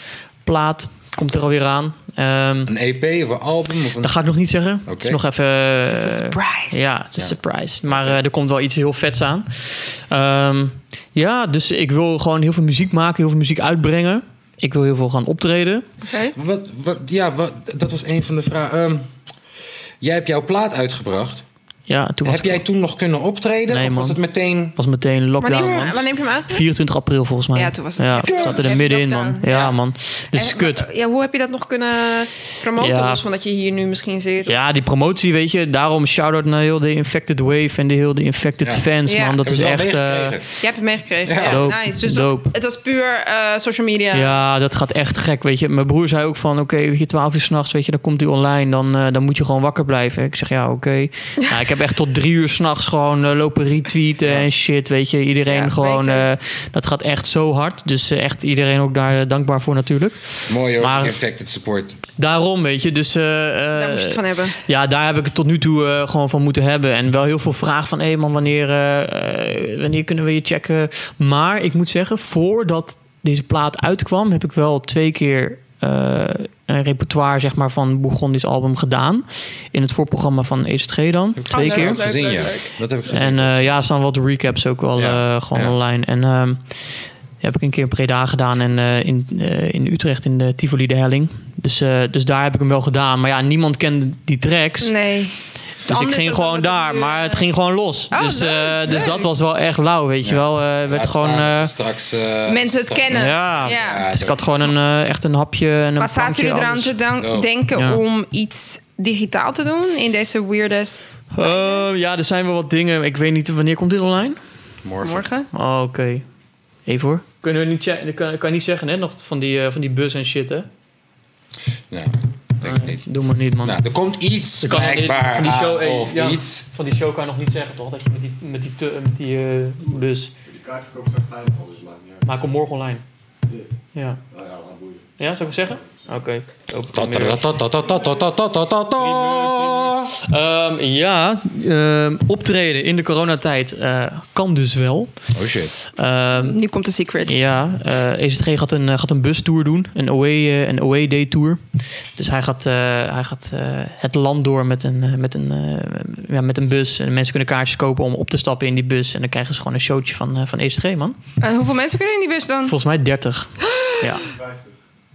plaat. Komt er alweer aan. Ehm, Een EP of een album? Of een... dat ga ik nog niet zeggen. Het is Oké. nog even... eh, Het is een surprise. Ja, het is Ja. een surprise. Maar eh, er komt wel iets heel vets aan. Ehm, ja, dus ik wil gewoon heel veel muziek maken, heel veel muziek uitbrengen. Ik wil heel veel gaan optreden. Oké. Wat, wat, ja, wat, dat was een van de vragen. Ehm, jij hebt jouw plaat uitgebracht. Ja, toen was Heb jij ik, toen nog kunnen optreden? Nee, of was man. het meteen... was meteen lockdown, eh, Wanneer, man. wanneer heb je hem uit? 24 april volgens mij. Ja, toen was het Ja, echt- we zaten er echt middenin, man. lockdown. Ja, Ja. man. Dus het is En- kut. maar, Eh, Ja, hoe heb je dat nog kunnen promoten? Ja. Los van dat je hier nu misschien zit. Ja, die promotie, weet je. Daarom shout-out naar heel de Infected Wave en de heel de Infected Ja. fans, Ja. man. Dat Heb is je het wel echt... eh, meegekregen? Jij hebt het meegekregen. Ja. Ja, Dope. nice. Dus dat- Dope. het was puur eh, social media. Ja, dat gaat echt gek, weet je. Mijn broer zei ook van, oké, weet je, 12 uur s'nachts, weet je, dan komt hij online, dan, eh, dan moet je gewoon wakker blijven. Ik zeg, ja, oké. Nou, ik heb echt tot drie uur s'nachts gewoon eh, lopen retweeten en shit, weet je. Iedereen Ja, gewoon, beter. eh, dat gaat echt zo hard. Dus eh, echt iedereen ook daar eh, dankbaar voor natuurlijk. Mooi hoor, Maar- infected support. Daarom, weet je, dus... eh, Daar moest eh, je het van hebben. Ja, daar heb ik het tot nu toe eh, gewoon van moeten hebben. En wel heel veel vraag van, hé man, wanneer, eh, eh, wanneer kunnen we je checken? Maar ik moet zeggen, voordat deze plaat uitkwam, heb ik wel twee keer eh, een repertoire zeg maar, van Bourgondisch album gedaan. In het voorprogramma van EZG dan. Twee leuk. keer. Dat heb ik gezien, leuk, ja. leuk. Dat heb ik gezien. En eh, ja, er staan wat recaps ook wel Ja, eh, gewoon ja. online. En ehm, die heb ik een keer in Preda gedaan en eh, in, eh, in Utrecht in de Tivoli de Helling. Dus, eh, dus daar heb ik hem wel gedaan. Maar ja, niemand kende die tracks. Nee. Dus ik ging gewoon daar, maar het ging gewoon los. Oh, dus, eh, leuk, dus leuk. dat was wel echt lauw, weet je Ja. wel. Eh, werd Laat gewoon, staan dat eh, ze straks, eh, Mensen het straks- kennen. ja. Ja. Dus ik had gewoon een, eh, echt een hapje en een Maar zaten jullie drankje, eraan alles. te dan- Dope. denken Ja. om iets digitaal te doen in deze weirdest Eh, ja, er zijn wel wat dingen. Ik weet niet, wanneer komt dit online? Morgen. morgen? Oh, oké. Even hoor. Kunnen we niet checken, kan, kan je niet zeggen, hè? Nog van die, eh, van die bus en shit, hè? Eh, Ja, denk ik niet. Doe maar niet, man. Nou, er komt iets, Er kan nog niet- blijkbaar. van die show, aan eh, of ja, iets. Van die show kan je nog niet zeggen, toch? Dat je met die, met die, te- met die eh, bus... Die kaartverkoop staat fijn al, dus het maakt niet uit. Maar ik kom morgen online. Ja. Ja. Nou ja, laat boeien. Ja, zou ik het zeggen? Oké. Open vanmiddag. Tatatatatatatatatata. Ehm, ja, ehm, optreden in de coronatijd eh, kan dus wel. Oh shit. Ehm, Nu komt de secret. ja, eh EZG gaat een, eh, gaat een bustour doen, een away, eh, een away day tour. Dus hij gaat, eh, hij gaat eh, het land door met een, eh, met, een, eh, ja, met een bus. En mensen kunnen kaartjes kopen om op te stappen in die bus. En dan krijgen ze gewoon een showtje van, eh van EZG, man. En hoeveel mensen kunnen in die bus dan? Volgens mij 30. ja. 50,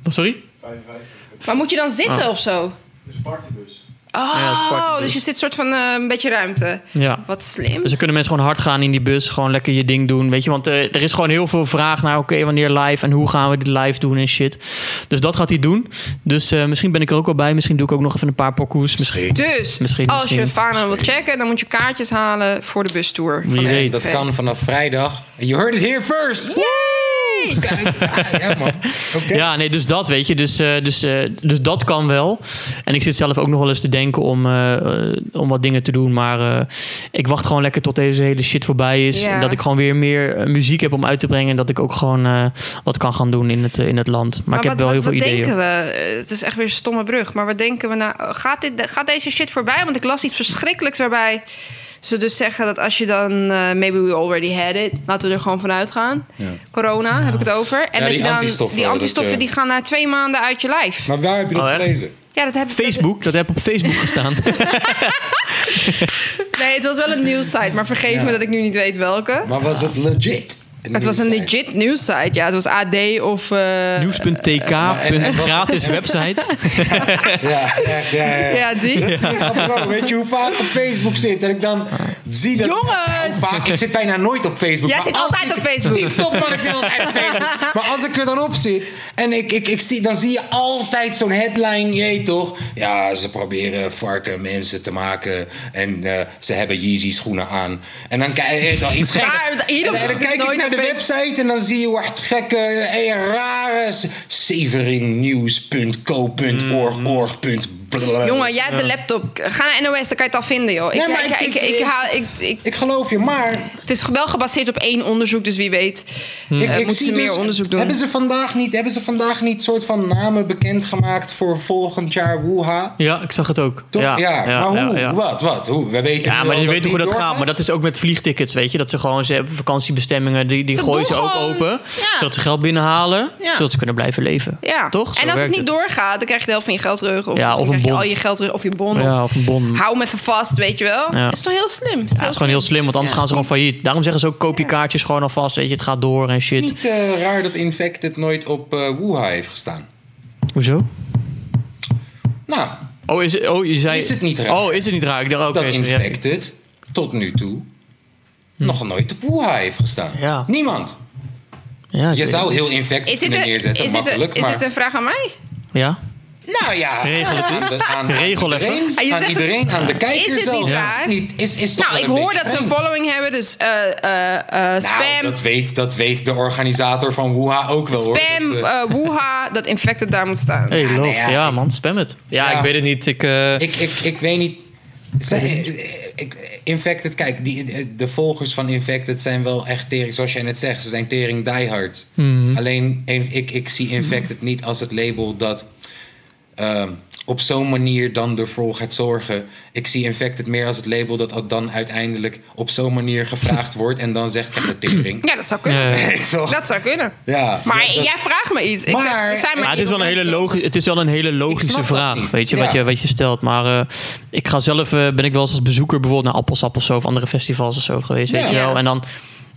Wat, Sorry? 55. Het Maar moet je dan zitten of zo? is een partybus. Oh, Ah. Ja, dat is apart, dus. dus je zit soort van eh, een beetje ruimte. Ja. Wat slim. Dus dan kunnen mensen gewoon hard gaan in die bus. Gewoon lekker je ding doen. Weet je, want eh, er is gewoon heel veel vraag naar. Oké, wanneer live en hoe gaan we dit live doen en shit. Dus dat gaat hij doen. Dus eh, misschien ben ik er ook wel bij. Misschien doe ik ook nog even een paar parcours. Misschien. Dus Misschien, als misschien. je Fana wil checken, dan moet je kaartjes halen voor de bustour. Wie van de weet. STV. Dat kan vanaf vrijdag. You heard it here first. Yay! Kijk, ja, man. Oké. Ja, nee, dus dat weet je. Dus, eh, dus, eh, dus dat kan wel. En ik zit zelf ook nog wel eens te denken om, eh, eh, om wat dingen te doen. Maar eh, ik wacht gewoon lekker tot deze hele shit voorbij is. Ja. En dat ik gewoon weer meer eh, muziek heb om uit te brengen. En dat ik ook gewoon eh, wat kan gaan doen in het, eh, in het land. Maar, ik heb wat- wel heel wat- veel wat ideeën. denken we? Eh, Het is echt weer een stomme brug. Maar wat denken we nou? Gaat, dit, gaat deze shit voorbij? Want ik las iets verschrikkelijks waarbij ze dus zeggen dat als je dan... eh, maybe we already had it. Laten we er gewoon vanuit gaan. Ja. Corona heb ik het over. En Ja, dat die je dan, antistoffen, Die antistoffen dat, eh, die gaan na twee maanden uit je lijf. Maar waar heb je dat Oh, echt? gelezen? Ja, dat heb ik... Facebook, dat heb op Facebook gestaan. Nee, het was wel een nieuwssite. Maar vergeef Ja. me dat ik nu niet weet welke. Maar was het legit? Het was een Nieuws legit nieuwssite. Ja, het was AD of... eh, Nieuws.tk. en- en- gratis website. zijn. Ja, echt, ja, ja. Ja, die. Ja, bro, weet je hoe vaak ik op Facebook zit en ik dan zie dat... Jongens! Hoe vaak- ik zit bijna nooit op Facebook. Jij maar zit als altijd ik- op Facebook. Tip-top, man, ik zit altijd op Facebook. Maar als ik er dan op zit en ik, ik, ik zie, dan zie je altijd zo'n headline, jee toch? Ja, ze proberen varken mensen te maken en eh, ze hebben Yeezy schoenen aan. En dan kijk je toch iets geks. Maar hierop en, en dan zoek ik kijk ik dus nooit naar naar de opeens- website en dan zie je wat gekke en rare s- severingnieuws.co.org.org. Jongen, jij hebt de laptop. Ga naar NOS, dan kan je het al vinden, joh. Ik, Nee, maar ik, ik- ik, ik, ik- haal- ik, ik- Ik geloof je, maar het is wel gebaseerd op één onderzoek, dus wie weet. Hm. Ik, ik Eh, moeten zie ze meer dus- onderzoek doen. Hebben ze vandaag niet, hebben ze vandaag niet soort van namen bekendgemaakt voor volgend jaar Wuha? Ja, ik zag het ook. Toch? Ja, maar hoe? ja, ja. Wat? Wat? Hoe? We weten Ja, nu maar al je weet die toch hoe dat doorgaat. gaat. Maar dat is ook met vliegtickets, weet je. Dat ze gewoon, ze hebben vakantiebestemmingen, die, die Ze gooien ze doen ook gewoon- open. ja. Zodat ze geld binnenhalen, Ja. zodat ze kunnen blijven leven. Ja. Toch? Zo en als het werkt niet doorgaat, dan krijg je de helft van je geld terug. Of, Ja, misschien of een krijg je bon. al je geld terug, of je bon. of, Ja, of een bon. hou hem even vast, weet je wel. Ja. Dat is toch heel slim? Dat is, Ja, het is gewoon heel slim, want anders Ja. gaan ze gewoon failliet. Daarom zeggen ze ook, koop je kaartjes gewoon alvast, weet je. Het gaat door en Het is shit. niet eh, raar dat Infected nooit op eh Wuha heeft gestaan. Hoezo? Nou, Oh, is het, oh, je zei... Is het niet raar? Oh, is het niet raar? Ik dacht, oké. dat is- ja. Hm. Infected tot nu toe nog nooit op Wuha heeft gestaan. Ja. Niemand. Ja, ik Je weet zou het. heel Infected Is dit, kunnen een, is, neerzetten, dit een, makkelijk. is maar, dit een vraag aan mij? Ja? Nou ja, Regel het eens. aan, aan Regel even. iedereen, Ah, je aan zegt- iedereen, aan de kijker het zelf. niet Ja. raar? Is niet- Is, is toch Nou, wel ik een hoor beetje dat ze een vreemd. following hebben, dus eh, eh, eh, spam, Nou, dat weet, dat weet de organisator van Wuha ook wel hoor. spam, Dat, eh, eh, woeha, dat infected daar moet staan. Hey, love. nou ja, ja, ik- man, spam het. Ja, Ja. ik weet het niet. Ik, eh, ik, ik, ik weet niet. Zij- eh, ik- Infected, kijk, die, eh, de volgers van Infected zijn wel echt tering, zoals jij net zegt. Ze zijn tering diehard. Alleen, eh, ik, ik zie Infected niet als het label dat ehm, op zo'n manier dan ervoor gaat zorgen. Ik zie Infected meer als het label dat al dan uiteindelijk op zo'n manier gevraagd wordt en dan zegt echt de tering. Ja, dat zou kunnen. Ja, ja. Toch? Dat zou kunnen. ja, Maar dat- jij vraagt me iets. Ik zeg, Maar- er zijn Ja, het, is wel een hele logi- het is wel een hele Ik logische snap dat vraag, niet. weet je, Ja. wat je, wat je stelt. Maar eh, ik ga zelf, eh, ben ik wel eens als bezoeker bijvoorbeeld naar Appelsap of zo, of andere festivals of zo geweest, Ja. weet je wel. En dan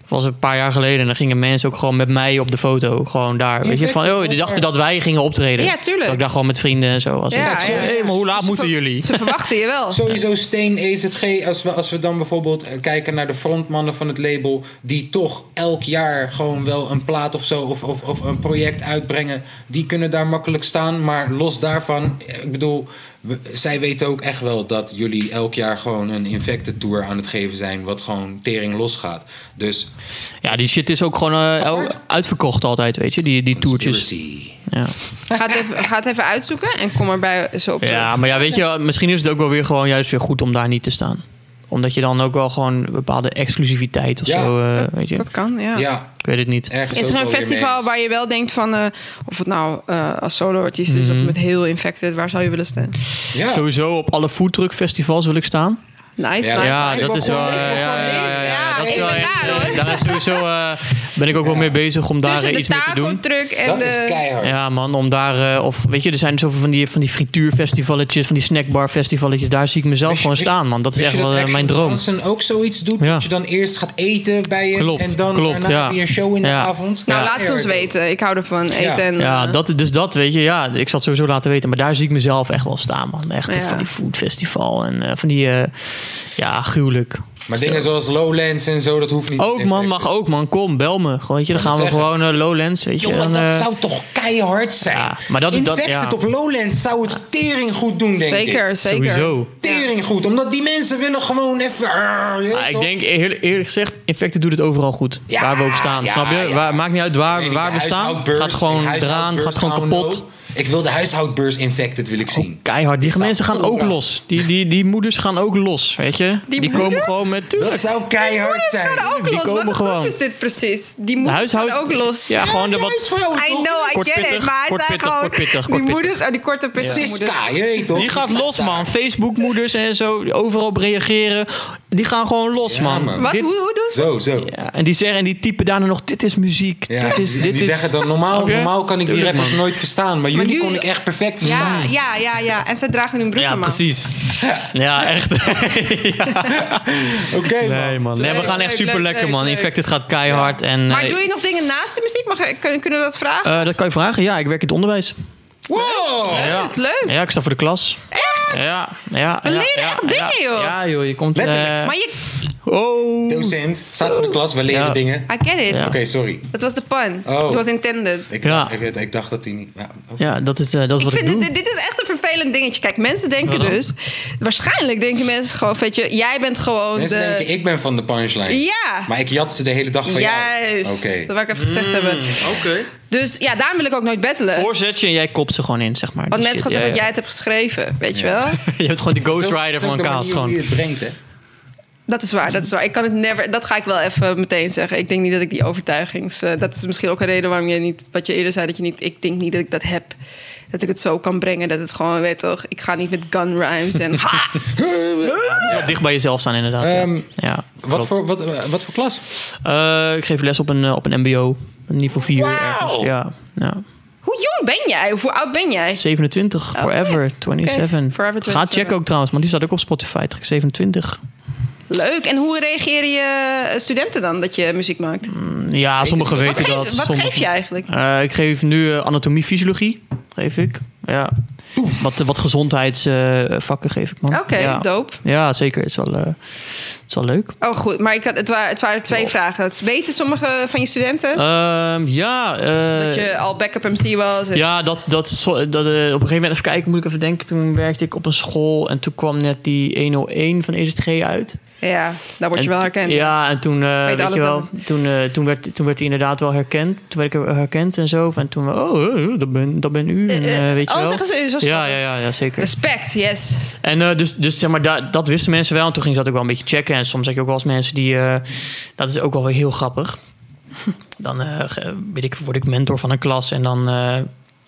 was het een paar jaar geleden en dan gingen mensen ook gewoon met mij op de foto, gewoon daar. Weet je, vindt van, het oh, die wel dachten erg. dat wij gingen optreden. Ja, tuurlijk. Dat ik daar gewoon met vrienden en zo was. Ja, Ik dacht, ja, ja. hey, maar hoe laat moeten jullie? Ze verwachten je wel. Sowieso Steen EZG, als we, als we dan bijvoorbeeld eh, kijken naar de frontmannen van het label, die toch elk jaar gewoon wel een plaat of zo of, of, of een project uitbrengen, die kunnen daar makkelijk staan. Maar los daarvan, eh, ik bedoel, we- zij weten ook echt wel dat jullie elk jaar gewoon een infected tour aan het geven zijn, wat gewoon tering losgaat. Dus Ja, die shit is ook gewoon eh, el- Apart. uitverkocht altijd, weet je, die, die toertjes. conspiracy. Ja. Ga het, even, ga het even uitzoeken en kom erbij zo op terug. Ja, maar ja, weet je, misschien is het ook wel weer gewoon juist weer goed om daar niet te staan. Omdat je dan ook wel gewoon een bepaalde exclusiviteit of Ja, zo, eh, weet je. Dat kan, ja. Ja, Ik weet het niet. ergens Is ook er een wel weer festival mee waar je wel denkt van... eh, of het nou eh, als solo-artiest is Mhm. of met heel Infected... waar zou je willen staan? Nice, eens. Ja. Sowieso op alle foodtruckfestivals wil ik staan. nice. Ja, Ja, nice. dat is wel... Deze, Ja, ja, deze, ja, ja, ja, dat is wel inderdaad, echt, hoor. eh, Daar is sowieso eh, ben ik ook wel mee bezig om daar Tussen eh, de iets mee te doen. taco-truck en Dat de... is keihard. Ja, man, om daar... eh, of weet je, er zijn zoveel van die, van die frituurfestivaletjes, van die snackbarfestivaletjes. Daar zie ik mezelf Wist je- gewoon wist- staan, man. Dat is Wist echt je wel eh, Action mijn droom. Bronson ook zoiets doet? Ja. Dat je dan eerst gaat eten bij je Klopt, en dan klopt, daarna ja. heb je een show in de Ja. avond? Nou, Ja. laat het ons weten. Ik hou ervan. Eten Ja. en... Ja, eh, dat, dus dat, weet je, ja, ik zat sowieso laten weten. Maar daar zie ik mezelf echt wel staan, man. Echt Ja. van die foodfestival en eh, van die, eh, ja, gruwelijk. Maar Zo. dingen zoals Lowlands en zo, dat hoeft niet. Ook, man, mag ook, man. Kom, bel me. Gewoon, weet je, dan Ik gaan we wil zeggen. gewoon eh, Lowlands, weet je. Jongen, dan, dat eh, zou toch keihard zijn? ja, maar dat- dat- Infected ja. op Lowlands zou het tering goed doen, denk ik. zeker, zeker. Sowieso. Tering goed, omdat die mensen willen gewoon even... Ah, je weet Maar ik toch? denk, eerlijk, eerlijk gezegd, Infected doet het overal goed. Ja, waar we ook staan, ja, snap je? ja. Waar, maakt niet uit Ik weet waar, niet, waar de we staan. huishoudbeurs- Gaat gewoon de eraan, gaat huishoudbeurs gewoon kapot. Oh, dood. Ik wil de huishoudbeurs Infected, wil ik zien. Keihard. Die staat mensen gaan ook vooraan. los. Die, die, die moeders gaan ook los, weet je. Die, komen moeders? gewoon met... Tuurlijk. Dat zou keihard Ze zijn. gaan ook Die los. Wat komen een gewoon. grap is dit precies? Die De moeders gaan huishoud- ook los. Ja, gewoon de Ja, wat... huisvrouw, I toch? know, I Kort get it. pittig, Maar kort het zijn pittig, gewoon kort pittig, kort die pittig. moeders, oh, die korte pittige moeders. Siska, je weet toch? Die gaat staat los, daar. man. Facebook-moeders en zo, die overal op reageren. Die gaan gewoon los, Ja, man. man. Wat, Dit- hoe, hoe doen ze? Zo, zo. ja, en die zeggen en die typen daarna nog: dit is muziek. Ja, dit is, die, dit die is, zeggen dan normaal, Snap je? normaal kan ik die Tuurlijk, rappers man. nooit verstaan, maar, jullie nu- kon ik echt perfect verstaan. Ja, ja, ja, ja. En ze dragen hun broeken, Ja, man. precies. Ja, echt. Oké, Nee, man. man. Nee, we Leuk, gaan leuk, echt super leuk, lekker, man. leuk. Infected gaat keihard. En, Maar eh, doe je nog dingen naast de muziek? Mag, kun- kunnen we dat vragen? eh, dat kan je vragen. Ja, ik werk in het onderwijs. Wow! Ja. Leuk, leuk. Ja, ik sta voor de klas. Echt? Ja, ja. We ja, leren ja, echt dingen, ja. joh. Ja, joh. Je komt... Letterlijk. eh, Maar je, oh. Docent, staat voor de klas, we leren Ja. dingen. Oké, I get it. Ja. sorry. Dat was de pun. Oh. It was intended. Ik, Ja. ik, ik dacht dat hij niet... Ja, oké. Ja, dat is, eh, dat is Ik wat ik vind doe. dit, dit is echt een vervelend dingetje. Kijk, mensen denken Wat dan? dus... Waarschijnlijk denken mensen gewoon, weet je... Jij bent gewoon Mensen de... denken, ik ben van de punchline. eh, Ja. Maar ik jat ze de hele dag van Juist. jou. Oké. Dat wou ik even gezegd Mm. hebben. Oké. Dus ja, daarom wil ik ook nooit battelen. Voorzetje en jij kopt ze gewoon in, zeg maar. eh, Want Die mensen gaan shit, zeggen dat jij ja, het hebt geschreven, weet je Ja. wel? ja. Je hebt gewoon de Ghost Zo- Rider zo van de Kaas manier gewoon. hoe je het brengt, hè? Dat is waar, dat is waar. Ik kan het never... Dat ga ik wel even meteen zeggen. Ik denk niet dat ik die overtuigings... eh, dat is misschien ook een reden waarom je niet... Wat je eerder zei, dat je niet... Ik denk niet dat ik dat heb. Dat ik het zo kan brengen. Dat het gewoon, weet toch... Ik ga niet met gun rhymes en... Ha! Ja, dicht bij jezelf staan, inderdaad. ja. Ehm, ja, Wat klopt. voor, wat, eh, wat voor klas? Eh, ik geef les op een, eh, op een MBO, een niveau 4 ergens. Ja, ja. Hoe jong ben jij? Of hoe oud ben jij? 27, Forever 27. Oké, Forever Ga 27. checken ook trouwens, want die staat ook op Spotify. Trek 27. Leuk. En hoe reageren je eh, studenten dan dat je muziek maakt? Ja, sommigen Wat, weten geef, dat. wat sommigen- geef je eigenlijk? Eh, ik geef nu eh, anatomie, fysiologie. Geef ik. Ja. Wat, eh, wat gezondheidsvakken geef ik, man. Oké, ja. dope. Ja, zeker. Het is wel, eh, het is wel leuk. Oh, goed. Maar ik had, het, waren, het waren twee vragen. Het- Weten sommige van je studenten Ehm, ja, eh, dat je al backup MC was? En- Ja, dat, dat, zo- dat, eh, op een gegeven moment, even kijken, moet ik even denken. Toen werkte ik op een school en toen kwam net die 101 van EZG uit. ja, daar word je En wel to- herkend. Ja, en toen, eh, Weet weet, alles je wel, dan. toen, eh, toen, werd, toen werd hij inderdaad wel herkend. Toen werd ik herkend en zo. En toen, oh, eh, dat ben, dat ben u. En, Eh, eh, eh, weet je oh, wel. zeggen ze, zo ja, schattig. ja, ja, ja, zeker. Respect, yes. En eh, dus, dus zeg maar, da- dat wisten mensen wel. En toen ging ze dat ook wel een beetje checken. En soms heb je ook wel eens mensen die... eh, dat is ook wel weer heel grappig. Dan eh, ge- weet ik, word ik mentor van een klas en dan... eh,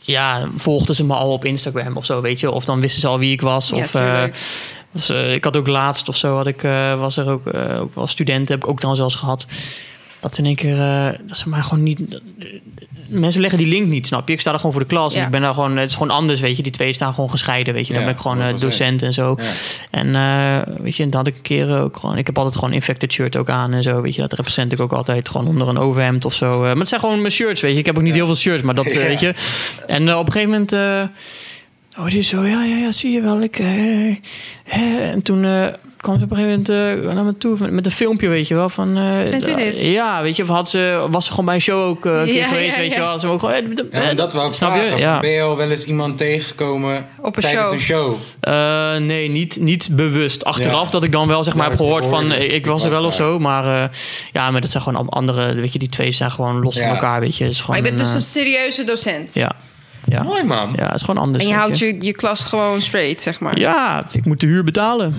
ja, volgden ze me al op Instagram of zo, weet je. Of dan wisten ze al wie ik was. Ja, of, eh, tuurlijk. was, eh, ik had ook laatst of zo, had ik, eh, was er ook, eh, ook wel student, heb ik ook dan zelfs gehad. Dat ze in één keer, eh, dat ze maar gewoon niet... mensen leggen die link niet, snap je? Ik sta daar gewoon voor de klas Ja. en ik ben daar gewoon... Het is gewoon anders, weet je. Die twee staan gewoon gescheiden, weet je. Dan Ja, ben ik gewoon eh, 100%. docent en zo. Ja. En eh, weet je, dat had ik een keer ook gewoon. Ik heb altijd gewoon infected shirt ook aan en zo. Weet je, dat represent ik ook altijd gewoon onder een overhemd of zo. Eh, maar het zijn gewoon mijn shirts, weet je. Ik heb ook niet heel veel shirts, maar dat eh, Ja. weet je. En eh, op een gegeven moment. eh, oh, dit is zo, ja, ja, ja, zie je wel. Ik, eh, hè. en toen. eh, kwam ze op een gegeven moment eh, naar me toe met, met een filmpje, weet je wel. Van, eh, Bent u dit? Ja, weet je, of had ze, was ze gewoon bij een show ook eh, een keer Ja, geweest, ja, weet ja. je wel. Had Ze hem ook gewoon, eh, Ja, maar dat wou ik snap vragen. je? Ja. Ben je al wel eens iemand tegengekomen Op een tijdens show. een show? Eh, nee, niet, niet bewust. Achteraf Ja. dat ik dan wel zeg maar Ja, heb dat je gehoord van hoorde. eh, ik was er wel of zo. Maar eh, ja, maar dat zijn gewoon allemaal andere. Weet je, die twee zijn gewoon los Ja. van elkaar. Weet je, Het is Maar gewoon. je bent dus een, een serieuze docent. eh, ja, ja, Mooi man. ja, het is gewoon anders. En je weet houdt je, je klas gewoon straight, zeg maar. Ja, ik moet de huur betalen.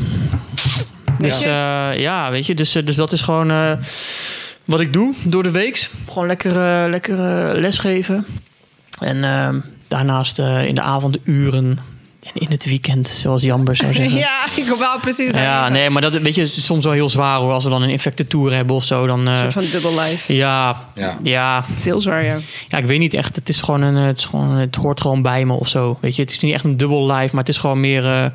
Dus Netjes. eh, ja, weet je, dus, eh, dus dat is gewoon eh, wat ik doe door de week. Gewoon lekker, eh, lekker eh, lesgeven. En eh, daarnaast eh, in de avonduren en in het weekend, zoals Jamber zou zeggen. ja, ik hoop wel precies. Ja, nee, maar dat weet je, is soms wel heel zwaar hoor. Als we dan een infecte tour hebben of zo, dan. eh, Een soort van dubbel life. ja, Ja. ja. Ja, Het is heel zwaar, ja. ik weet niet echt. Het is gewoon een. eh, Het, is gewoon, het hoort gewoon bij me of zo. Weet je, het is niet echt een dubbel live, maar het is gewoon meer. eh,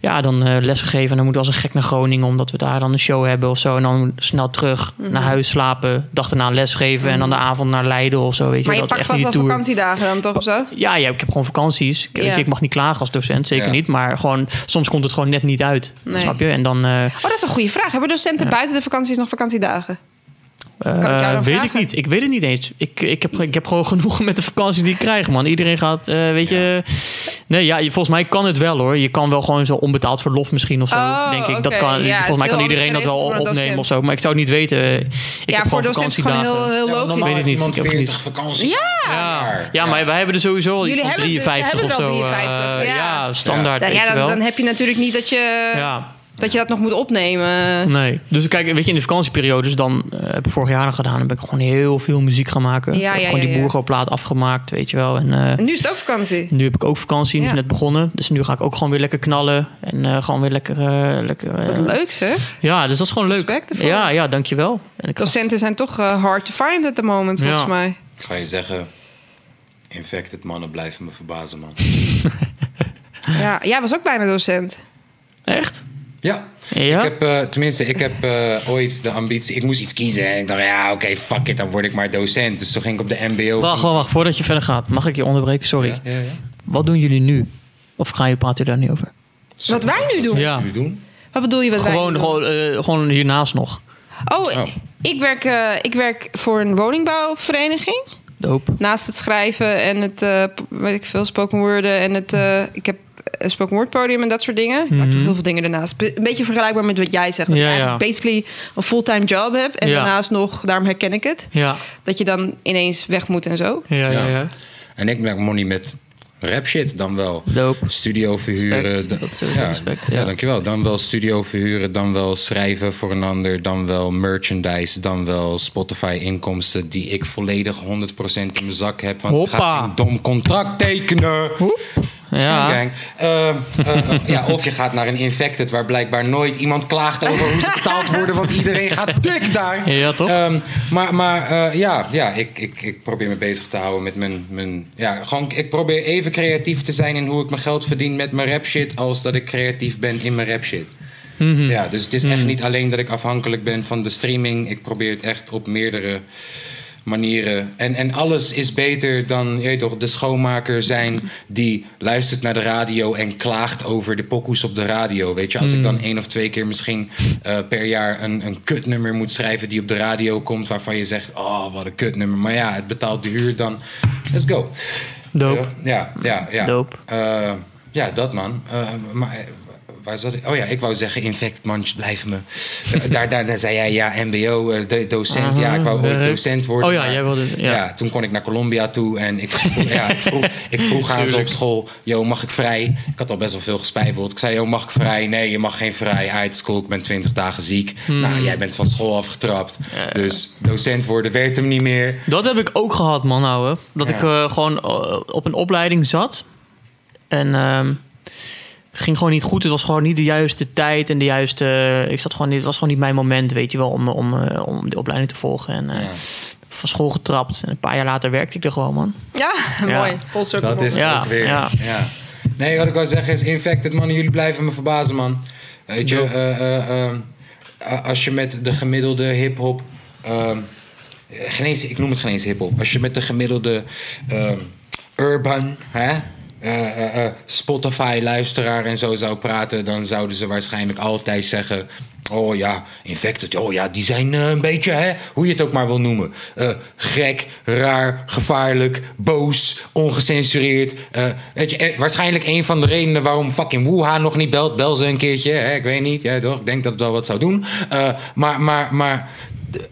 ja, dan eh, lesgegeven. En dan moeten we als een gek naar Groningen, omdat we daar dan een show hebben of zo. En dan snel terug Mhm. naar huis slapen. Dag erna lesgeven en dan de avond naar Leiden of zo. Weet je, Maar je dat is pakt echt vast niet wel de tour. vakantiedagen dan toch of zo? Ja, ja, ik heb gewoon vakanties. Ik, weet Ja. je, ik mag niet klagen als docent, zeker Ja. niet. Maar gewoon, soms komt het gewoon net niet uit. Nee. Snap je? En dan. eh, Oh, dat is een goede vraag. Hebben docenten buiten de vakanties nog vakantiedagen? Eh, Kan ik jou dan weet vragen? ik niet. Ik weet het niet eens. Ik, ik, heb, ik heb gewoon genoeg met de vakantie die ik krijg, man. Iedereen gaat, eh, weet je... Nee, ja, je- volgens mij kan het wel, hoor. Je kan wel gewoon zo onbetaald verlof misschien of zo, Oh, denk ik. Dat oké. kan, Ja, het is volgens mij heel kan iedereen dat anders wel geregeld voor een opnemen docent. of zo. Maar ik zou het niet weten. ja, Ik heb voor gewoon docenten is het gewoon heel, vakantiedagen. heel Ja, logisch. normaal weet het niet, iemand ik heb het 40 niet. vakantie. Ja, ja, maar we hebben er sowieso al iets Jullie van hebben het dus, 53 of hebben zo. er al eh, 53, ja. ja. standaard, Ja, weet je dan, wel. dan heb je natuurlijk niet dat je, ja. dat, je dat nog moet opnemen. Nee. Dus kijk, weet je, in de vakantieperiodes dan eh, heb ik vorig jaar nog gedaan. Dan ben ik gewoon heel veel muziek gaan Ja, maken. Ik ja, heb gewoon ja, ja. die boergoplaat afgemaakt, weet je wel. En eh, En nu is het ook vakantie. nu heb ik ook vakantie, die is Ja. net begonnen. Dus nu ga ik ook gewoon weer lekker knallen. En eh, gewoon weer lekker... eh, lekker eh, Wat leuk zeg. Ja, dus dat is gewoon leuk. Respect ervoor. Ja, ja, dankjewel. En ik ga- Docenten zijn toch eh, hard to find at the moment, volgens Ja. mij. Ik ga je zeggen, infected mannen blijven me verbazen, man. Ja, jij was ook bijna docent. Echt? Ja, Ja? Ik heb, eh, tenminste, ik heb eh, ooit de ambitie... Ik moest iets kiezen en ik dacht, ja, oké, fuck it, dan word ik maar docent. Dus toen ging ik op de mbo... Wacht, wacht, wacht. Voordat je verder gaat, mag ik je onderbreken? Sorry. Ja, ja, ja. Wat doen jullie nu? Of gaan jullie praten daar niet over? Wat wij nu doen? Ja. Nu doen? Wat bedoel je wat wij Gewoon, doen? gewoon, eh, gewoon hiernaast nog. Oh, Oh. Ik, werk, eh, ik werk voor een woningbouwvereniging. Doop. Naast het schrijven en het, eh, weet ik veel, spoken worden. En het, eh, ik heb een spoken word podium en dat soort dingen. Maar ik doe heel veel dingen daarnaast. Be- Een beetje vergelijkbaar met wat jij zegt. Dat Mhm. Ja, je ja. eigenlijk basically een fulltime job hebt. En Ja. daarnaast nog, daarom herken ik het. Ja, Dat je dan ineens weg moet en zo. ja, ja. Ja. ja. En ik maak money met rap shit dan wel. Dope. Studio verhuren. Respect, da- dat is sowieso respect, ja. dankjewel. Dan wel studio verhuren, dan wel schrijven voor een ander, dan wel merchandise, dan wel Spotify-inkomsten die ik volledig 100% in mijn zak heb. Want ik Hoppa. ga geen dom contract tekenen. Ja. Gang. Eh, eh, eh, ja, of je gaat naar een infected waar blijkbaar nooit iemand klaagt over hoe ze betaald worden, want iedereen gaat dik daar. Ja, toch? Ehm, maar maar eh, ja, ja ik, ik, ik probeer me bezig te houden met mijn, mijn. Ja, gewoon, ik probeer even creatief te zijn in hoe ik mijn geld verdien met mijn rap shit, als dat ik creatief ben in mijn rap shit. Mhm. Ja, dus het is echt niet alleen dat ik afhankelijk ben van de streaming. Ik probeer het echt op meerdere manieren. En, en alles is beter dan je weet toch, de schoonmaker Mm. zijn die luistert naar de radio en klaagt over de pokoes op de radio. Weet je, als Mm. ik dan één of twee keer misschien eh, per jaar een, een kutnummer moet schrijven die op de radio komt, waarvan je zegt: Oh, wat een kutnummer. Maar ja, het betaalt de huur dan. Let's go. Dope. Ja, ja, ja. Dope. Eh, ja, dat man. Eh, maar eh, waar zat ik? Oh ja, ik wou zeggen infect manch, blijf me. Eh, daar, daarna zei jij ja, mbo, eh, de- docent. ja, ik wou ooit eh, docent worden. oh ja, maar- jij wilde- ja. toen kon ik naar Colombia toe en ik, ja, ik, vroeg, ik vroeg aan ze op school, yo, mag ik vrij? Ik had al best wel veel gespijbeld. Ik zei, yo, mag ik vrij? Nee, je mag geen vrij. Uit school, ik ben 20 dagen ziek. Hmm. Nou, jij bent van school afgetrapt. Dus docent worden werd hem niet meer. Dat heb ik ook gehad, man, ouwe. Dat Ja. ik eh, gewoon eh, op een opleiding zat. En ehm, ging gewoon niet goed. Het was gewoon niet de juiste tijd en de juiste... eh, Ik zat gewoon niet, het was gewoon niet mijn moment, weet je wel, om, om, eh, om de opleiding te volgen. En eh, Ja. van school getrapt. En een paar jaar later werkte ik er gewoon, man. Ja, mooi. Full circle. Dat is Ja, ook weer. ja. Ja. Nee, wat ik wil zeggen is: infected man, jullie blijven me verbazen, man. Weet je, Ja. eh, eh, eh, eh, als je met de gemiddelde hip-hop. ehm, geen eens- ik noem het geen eens hip-hop. Als je met de gemiddelde ehm, urban, hè? eh, eh, eh, Spotify-luisteraar en zo zou praten, dan zouden ze waarschijnlijk altijd zeggen: Oh ja, infected. Oh ja, die zijn eh, een beetje, hè, hoe je het ook maar wil noemen. Eh, gek, raar, gevaarlijk, boos, ongecensureerd. Eh, weet je, eh, waarschijnlijk een van de redenen waarom fucking Wuha nog niet belt. Bel ze een keertje, hè, ik weet niet. Ja, toch? Ik denk dat het wel wat zou doen. Eh, maar, maar, maar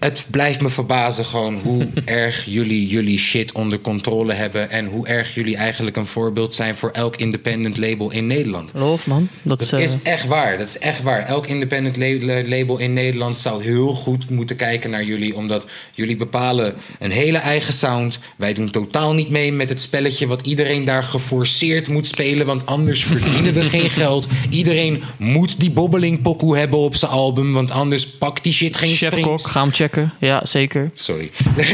het blijft me verbazen gewoon hoe erg jullie jullie shit onder controle hebben. En hoe erg jullie eigenlijk een voorbeeld zijn voor elk independent label in Nederland. Loof, man. Dat, is, Dat eh, is echt waar. Dat is echt waar. Elk independent la- label in Nederland zou heel goed moeten kijken naar jullie. Omdat jullie bepalen een hele eigen sound. Wij doen totaal niet mee met het spelletje wat iedereen daar geforceerd moet spelen. Want anders verdienen we geen geld. Iedereen moet die bobbeling pokoe hebben op zijn album. Want anders pakt die shit geen Chef streams. Kok, ga hem checken. Ja, zeker. Sorry. Zeker,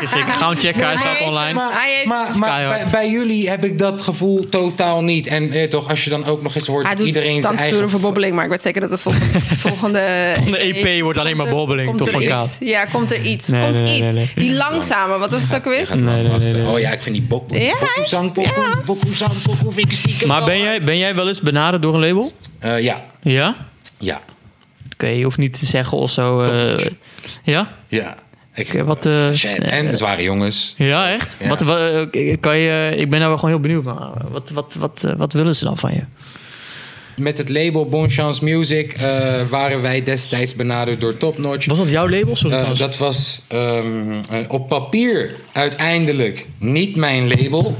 zeker. Ga hem checken, hij staat heeft- online. maar hij heeft- Maar, maar bij, Skyhard. bij jullie heb ik dat gevoel totaal niet. En eh, toch, als je dan ook nog eens hoort Hij dat doet iedereen zijn eigen... voor bobbeling, maar ik weet zeker dat de volgende, volgende Van de EP wordt alleen maar komt er- bobbeling, komt toch, er van iets. Kaat? Ja, komt er iets. Nee, komt nee, nee, iets. nee, Die langzame, wat was het ook weer? Gaat er Nee, wel nee, wachten. nee, nee. Oh ja, ik vind die bok, bok, Ja. bokoezang, bok, Ja. bokoezang, bokoe, vind ik stiekem Maar wel- ben jij, ben jij wel eens benaderd door een label? Eh, ja, Ja? ja, Oké, je hoeft niet te zeggen of zo. eh, ja? ja. Ik, Oké, wat, eh, Shit. en de zware jongens. Ja, echt? Ja. Wat, wat, eh, kan je, ik ben daar wel gewoon heel benieuwd naar. Wat, wat, wat, eh, wat willen ze dan van je? Met het label Bonchance Music eh, waren wij destijds benaderd door Top Notch. Was dat jouw label? Sorry, Eh, trouwens. dat was ehm, eh, op papier uiteindelijk niet mijn label.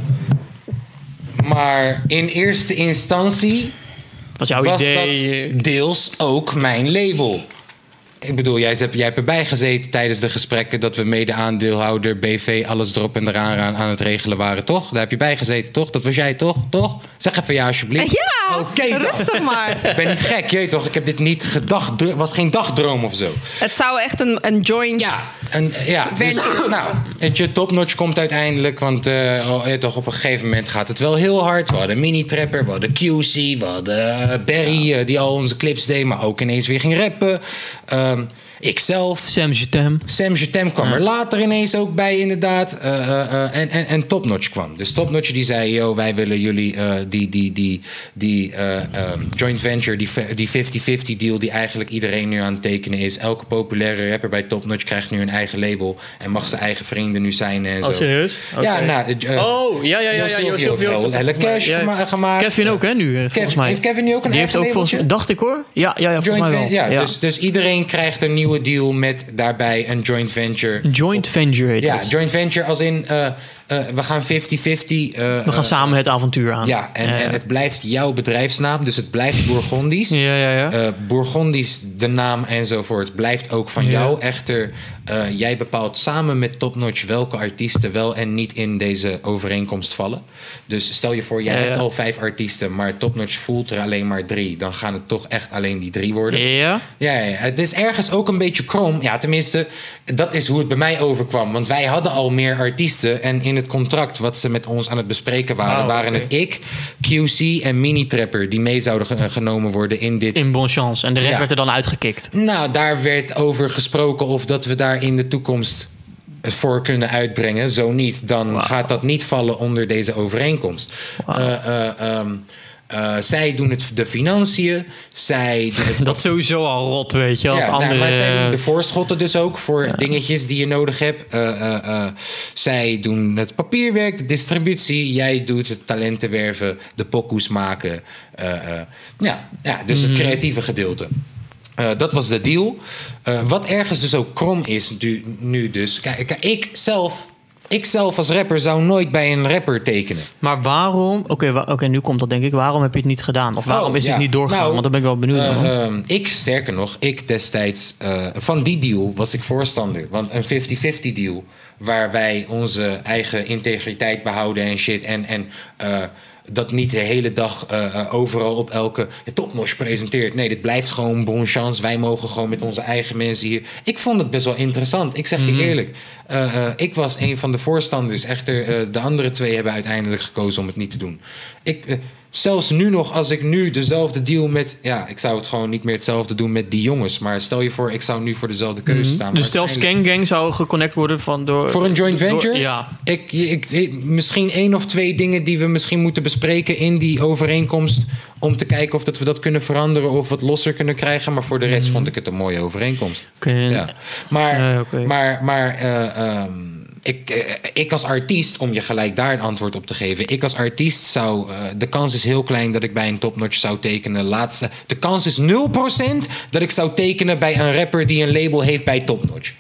Maar in eerste instantie was jouw was idee? eh, dat deels ook mijn label. Ik bedoel, jij hebt, jij hebt erbij gezeten tijdens de gesprekken dat we mede-aandeelhouder, BV, alles erop en eraan aan, aan het regelen waren, toch? Daar heb je bij gezeten, toch? Dat was jij, toch? Toch? Zeg even ja, alsjeblieft. Ja, Oké dan. rustig maar. Ik ben niet gek, jeet toch? Ik heb dit niet gedacht, was geen dagdroom of zo. Het zou echt een, een joint... Ja, en, ja dus, nou, weet je, topnotch komt uiteindelijk. Want eh, oh, ja, toch, op een gegeven moment gaat het wel heel hard. We hadden mini-trapper, we hadden QC, we hadden eh, Barry... eh, die al onze clips deed, maar ook ineens weer ging rappen. Ehm, ikzelf. Sam Jutem. Sam Jetem kwam er later ineens ook bij, inderdaad. Eh, eh, eh, en, en, en Topnotch kwam. Dus Topnotch die zei, yo, wij willen jullie eh, die, die, die, die eh, ehm, joint venture, die ve- die 50-50 deal die eigenlijk iedereen nu aan het tekenen is. Elke populaire rapper bij Topnotch krijgt nu een eigen label en mag zijn eigen vrienden nu zijn en Oh, zo. serieus? Ja, Oké. nou, eh, eh, oh, ja, ja, ja. Jo ja, Silvio Jo heeft Silvio. wel Helle Cash Ja. gema- gemaakt. Kevin ook, hè, nu, eh, volgens Kevin- mij. heeft Kevin nu ook een Die heeft eigen ook volgens labeltje? dacht ik hoor. Ja, ja, ja volgens Joint mij wel. ven- ja, Ja. Dus, dus iedereen krijgt een nieuwe deal met daarbij een joint venture. Een joint venture heet Ja, het. joint venture als in eh, eh, we gaan 50-50. eh, We gaan eh, samen het avontuur aan. Eh, Ja, en, en het blijft jouw bedrijfsnaam, dus het blijft Bourgondisch. Ja, ja, ja. Eh, Bourgondisch, de naam enzovoort, blijft ook van Ja. jou. Echter, eh, jij bepaalt samen met Topnotch welke artiesten wel en niet in deze overeenkomst vallen. Dus stel je voor, jij Ja, ja. hebt al vijf artiesten, maar Topnotch voelt er alleen maar drie. Dan gaan het toch echt alleen die drie worden. ja. Ja, ja, ja. het is ergens ook een beetje krom. Ja, tenminste, dat is hoe het bij mij overkwam. Want wij hadden al meer artiesten. En in het contract wat ze met ons aan het bespreken waren, Oh, waren oké. het ik, QC en Mini Trapper. die mee zouden ge- genomen worden in dit. In Bon Chance. En de rest Ja. werd er dan uitgekikt. Nou, daar werd over gesproken of dat we daar in de toekomst het voor kunnen uitbrengen. Zo niet, dan Wauw. gaat dat niet vallen onder deze overeenkomst. Wauw. Eh, eh, ehm, eh, zij doen het, de financiën. Zij doen het Dat is sowieso al rot, weet je. Als ja, nou, andere... eh, maar zij doen de voorschotten dus ook voor dingetjes die je nodig hebt. Eh, eh, eh, zij doen het papierwerk, de distributie. Jij doet het talenten werven, de pokoes maken. Eh, eh, ja, ja, dus Mhm. het creatieve gedeelte. Eh, dat was de deal. Eh, wat ergens dus ook krom is nu, nu dus. Kijk, kijk, ik zelf... Ik zelf als rapper zou nooit bij een rapper tekenen. Maar waarom... Oké, wa- oké, nu komt dat denk ik. Waarom heb je het niet gedaan? Of waarom Oh, is ja. het niet doorgegaan? Nou, Want dan ben ik wel benieuwd. eh, man. ehm, ik, sterker nog, ik destijds... eh, van die deal was ik voorstander. Want een 50-50 deal... waar wij onze eigen integriteit behouden en shit... en, en eh, dat niet de hele dag eh, eh, overal op elke topmosh presenteert. Nee, dit blijft gewoon bon chance. Wij mogen gewoon met onze eigen mensen hier... Ik vond het best wel interessant. Ik zeg Mhm. je eerlijk. Eh, eh, ik was een van de voorstanders. Echter, eh, de andere twee hebben uiteindelijk gekozen om het niet te doen. Ik... eh, Zelfs nu nog, als ik nu dezelfde deal met. Ja, ik zou het gewoon niet meer hetzelfde doen met die jongens. Maar stel je voor, ik zou nu voor dezelfde keuze staan. dus stel Waarschijnlijk- Scan Gang zou geconnect worden van door... Voor een joint door- venture? ja. Ik, ik, ik- misschien één of twee dingen die we misschien moeten bespreken in die overeenkomst. Om te kijken of dat we dat kunnen veranderen of wat losser kunnen krijgen. Maar voor de rest vond ik het een mooie overeenkomst. Mhm. Oké, en- Ja. Maar, Ja, oké. maar, maar eh, ehm, ik, eh, ik als artiest, om je gelijk daar een antwoord op te geven. Ik als artiest zou. eh, de kans is heel klein dat ik bij een topnotch zou tekenen. Laatste, de kans is 0% dat ik zou tekenen bij een rapper die een label heeft bij topnotch.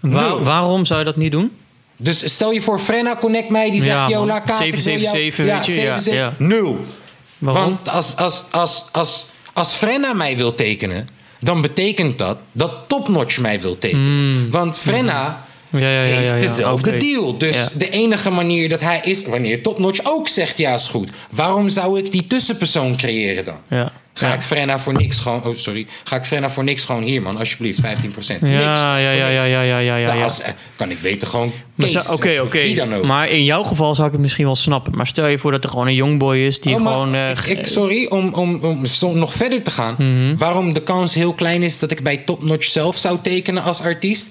Waar- Nul. waarom zou je dat niet doen? Dus stel je voor, Frenna connect mij, die Ja, zegt: Yo, man. la kaas, ik wil jou- 777, Ja, weet je, ja, 777. ja. Nul. Waarom? Want als, als, als, als, als Frenna mij wil tekenen, dan betekent dat dat Topnotch mij wil tekenen. Want Frenna Hmm. Ja, ja, ja, ja, heeft ja. dezelfde Oké. deal. Dus Ja. de enige manier dat hij is, wanneer Topnotch ook zegt ja is goed. Waarom zou ik die tussenpersoon creëren dan? Ja. Ga Ja. ik Frenna voor niks gewoon... Oh, sorry. Ga ik Frenna voor niks gewoon hier, man. Alsjeblieft, 15%. Voor niks. Ja, ja, Voor ja, niks. ja, ja, ja, ja, ja. Nou, als- eh, kan ik beter gewoon Maar Kees, zou- Oké, of wie dan oké. ook. Maar in jouw geval zou ik het misschien wel snappen. Maar stel je voor dat er gewoon een jongboy is die Oh, maar gewoon... eh, ik, ik- sorry, om, om, om zo nog verder te gaan. Mhm. Waarom de kans heel klein is dat ik bij Topnotch zelf zou tekenen als artiest?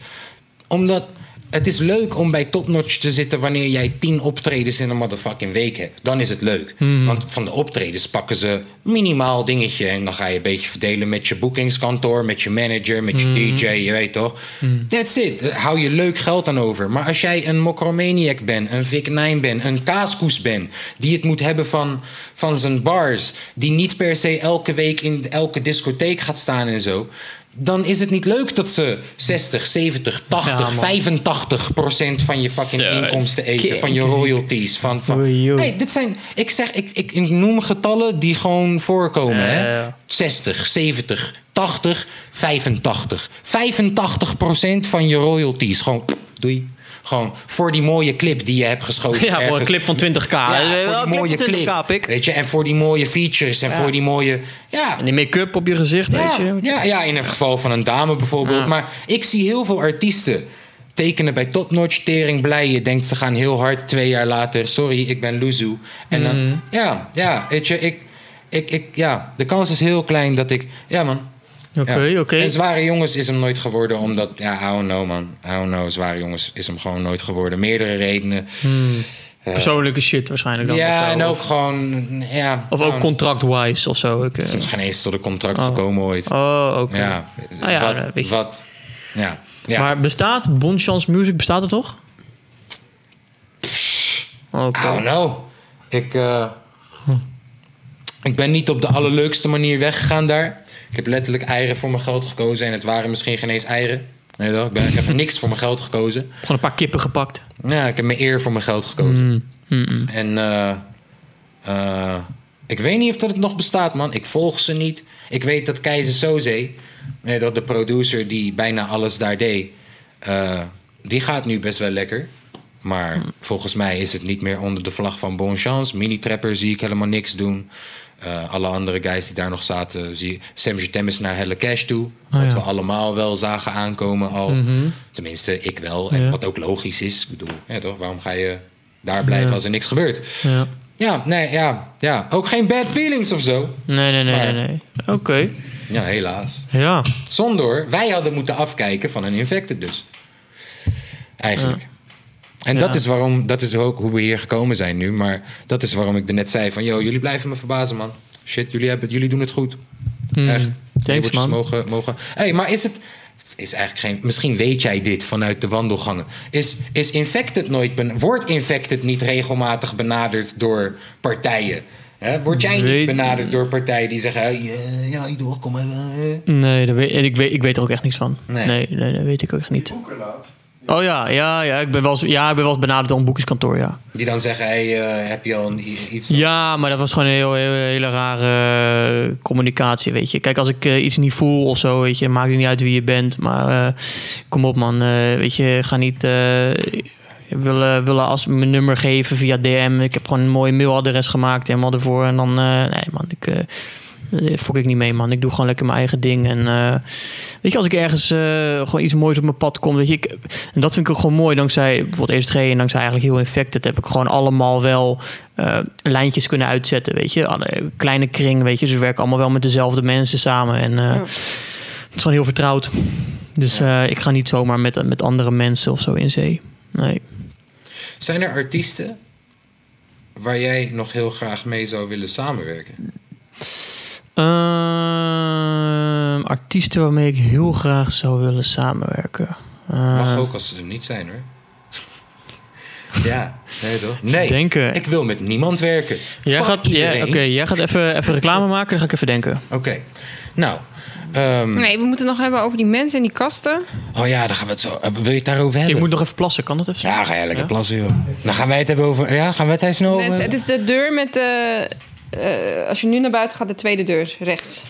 Omdat het is leuk om bij Topnotch te zitten wanneer jij tien optredens in een motherfucking week hebt. Dan is het leuk. Mhm. Want van de optredens pakken ze minimaal dingetje. En dan ga je een beetje verdelen met je boekingskantoor, met je manager, met je Mhm. DJ, je weet toch. That's it. Eh, Hou je leuk geld aan over. Maar als jij een mokromaniac bent, een Vic Nine bent, een kaaskoes bent, die het moet hebben van, van zijn bars, die niet per se elke week in elke discotheek gaat staan en zo. Dan is het niet leuk dat ze 60, 70, 80, Ja, man. 85 procent van je fucking Zo, het is inkomsten eten. kink. Van je royalties. Van, van. Oei, joh. Hey, dit zijn, ik zeg, ik, ik noem getallen die gewoon voorkomen. Ja, ja, hè? ja. 60, 70, 80, 85. 85 procent van je royalties. Gewoon, pff, doei. Gewoon voor die mooie clip die je hebt geschoten. ja, voor een ergens. clip van 20k. Ja, Eh, voor wel, die mooie van clip. 20k, pik. Weet je, en voor die mooie features en voor die mooie. Ja, En die make-up op je gezicht, weet ja, je. Ah. ja, ja, in het geval van een dame bijvoorbeeld. Ja. Maar ik zie heel veel artiesten tekenen bij topnotch, tering blij. Je denkt ze gaan heel hard twee jaar later. Sorry, ik ben Luzu. En Mm. dan, ja, ja, weet je, ik, ik, ik, ja, de kans is heel klein dat ik, ja man, Oké, Ja. oké. En Zware Jongens is hem nooit geworden omdat... Ja, I don't know, man. I don't know. Zware Jongens is hem gewoon nooit geworden. Meerdere redenen. Hmm. Eh, Persoonlijke shit waarschijnlijk dan. of ja, zo. en ook Of- gewoon... Ja, Of gewoon- ook contract-wise of zo. Ik, eh, Het is nog geen eens tot een contract Oh. gekomen ooit. Oh, oké. Ja, Ah ja, dat wat, weet je. wat... Ja, ja. Maar bestaat Bonchance Music, bestaat het nog? Oké. I don't know. Ik, eh, ik ben niet op de allerleukste manier weggegaan daar. Ik heb letterlijk eieren voor mijn geld gekozen. En het waren misschien geen eens eieren. Nee, toch? Ik, ben, ik heb niks voor mijn geld gekozen. Gewoon een paar kippen gepakt. Ja, ik heb mijn eer voor mijn geld gekozen. Mm, mm. En eh, eh, ik weet niet of dat het nog bestaat, man. Ik volg ze niet. Ik weet dat Keizer Soze, eh, dat de producer die bijna alles daar deed, eh, die gaat nu best wel lekker. Maar volgens mij is het niet meer onder de vlag van Bon Chance. Mini Trapper zie ik helemaal niks doen. Eh, alle andere guys die daar nog zaten, zie Sam Jutem is naar Helle Cash toe. Ah, wat ja. Mhm. we allemaal wel zagen aankomen al. Tenminste, ik wel. En Ja. wat ook logisch is. Ik bedoel, ja, toch? waarom ga je daar blijven Ja. als er niks gebeurt? Ja. Ja, nee, ja, ja. Ook geen bad feelings of zo. Nee, nee, nee, Maar- nee. nee. Oké. Ja, helaas. Ja. Zonde hoor. Wij hadden moeten afkijken van een infected dus. Eigenlijk. En Ja. dat is waarom, dat is ook hoe we hier gekomen zijn nu. Maar dat is waarom ik er net zei van... Yo, jullie blijven me verbazen, man. Shit, jullie, hebben, het- jullie doen het goed. Mm. Echt. Thanks, Labeltjes man. mogen... mogen. hey, maar is het... het Is eigenlijk geen, misschien weet jij dit vanuit de wandelgangen. Is, is infected nooit ben, wordt infected niet regelmatig benaderd door partijen? Hè, word jij niet Weet- benaderd door partijen die zeggen: hey, eh, Ja, Ido, kom eh, even. Nee, dat weet, en ik, weet, ik weet er ook echt niks van. Nee, Nee. nee, nee, dat weet ik ook echt niet. Boeken laatst. Oh ja, ja, ja. Ik ben wel eens, ja, ik ben wel eens benaderd door een boekingskantoor, ja. Die dan zeggen: hey, eh, Heb je al een- i- iets? Ja, maar dat was gewoon een heel, heel, hele rare eh, communicatie, weet je. Kijk, als ik eh, iets niet voel of zo, weet je, maakt het niet uit wie je bent. Maar eh, kom op, man. eh, weet je, ga niet eh, willen, willen als mijn nummer geven via DM. Ik heb gewoon een mooi mailadres gemaakt helemaal ervoor. En dan, eh, nee, man, ik... eh eh, fok ik niet mee, man. Ik doe gewoon lekker mijn eigen ding. En eh, weet je, als ik ergens eh, gewoon iets moois op mijn pad komt, weet je, ik, en dat vind ik ook gewoon mooi. Dankzij bijvoorbeeld ESG en dankzij eigenlijk heel infected heb ik gewoon allemaal wel eh, lijntjes kunnen uitzetten, weet je. Alle- Kleine kring, weet je. Ze werken allemaal wel met dezelfde mensen samen. En eh, het is gewoon heel vertrouwd. Dus eh, ik ga niet zomaar met, met andere mensen of zo in zee. Nee. Zijn er artiesten waar jij nog heel graag mee zou willen samenwerken? Ehm, artiesten waarmee ik heel graag zou willen samenwerken. Eh, Mag ook als ze er niet zijn hoor. Ja, nee toch? Nee, Denken. ik wil met niemand werken. Jij Fuck gaat, ja, iedereen. oké, jij gaat even, even reclame maken, dan ga ik even denken. Oké, nou. ehm, Nee, we moeten het nog hebben over die mensen in die kasten. Oh ja, daar gaan we het zo. eh, Wil je het daarover hebben? Ik moet nog even plassen, kan dat even? Ja, ga jij lekker Ja? plassen, joh. Dan gaan wij het hebben over. Ja, gaan we het hij snel over. Mensen, het hebben? is de deur met de... eh, als je nu naar buiten gaat, de tweede deur, rechts.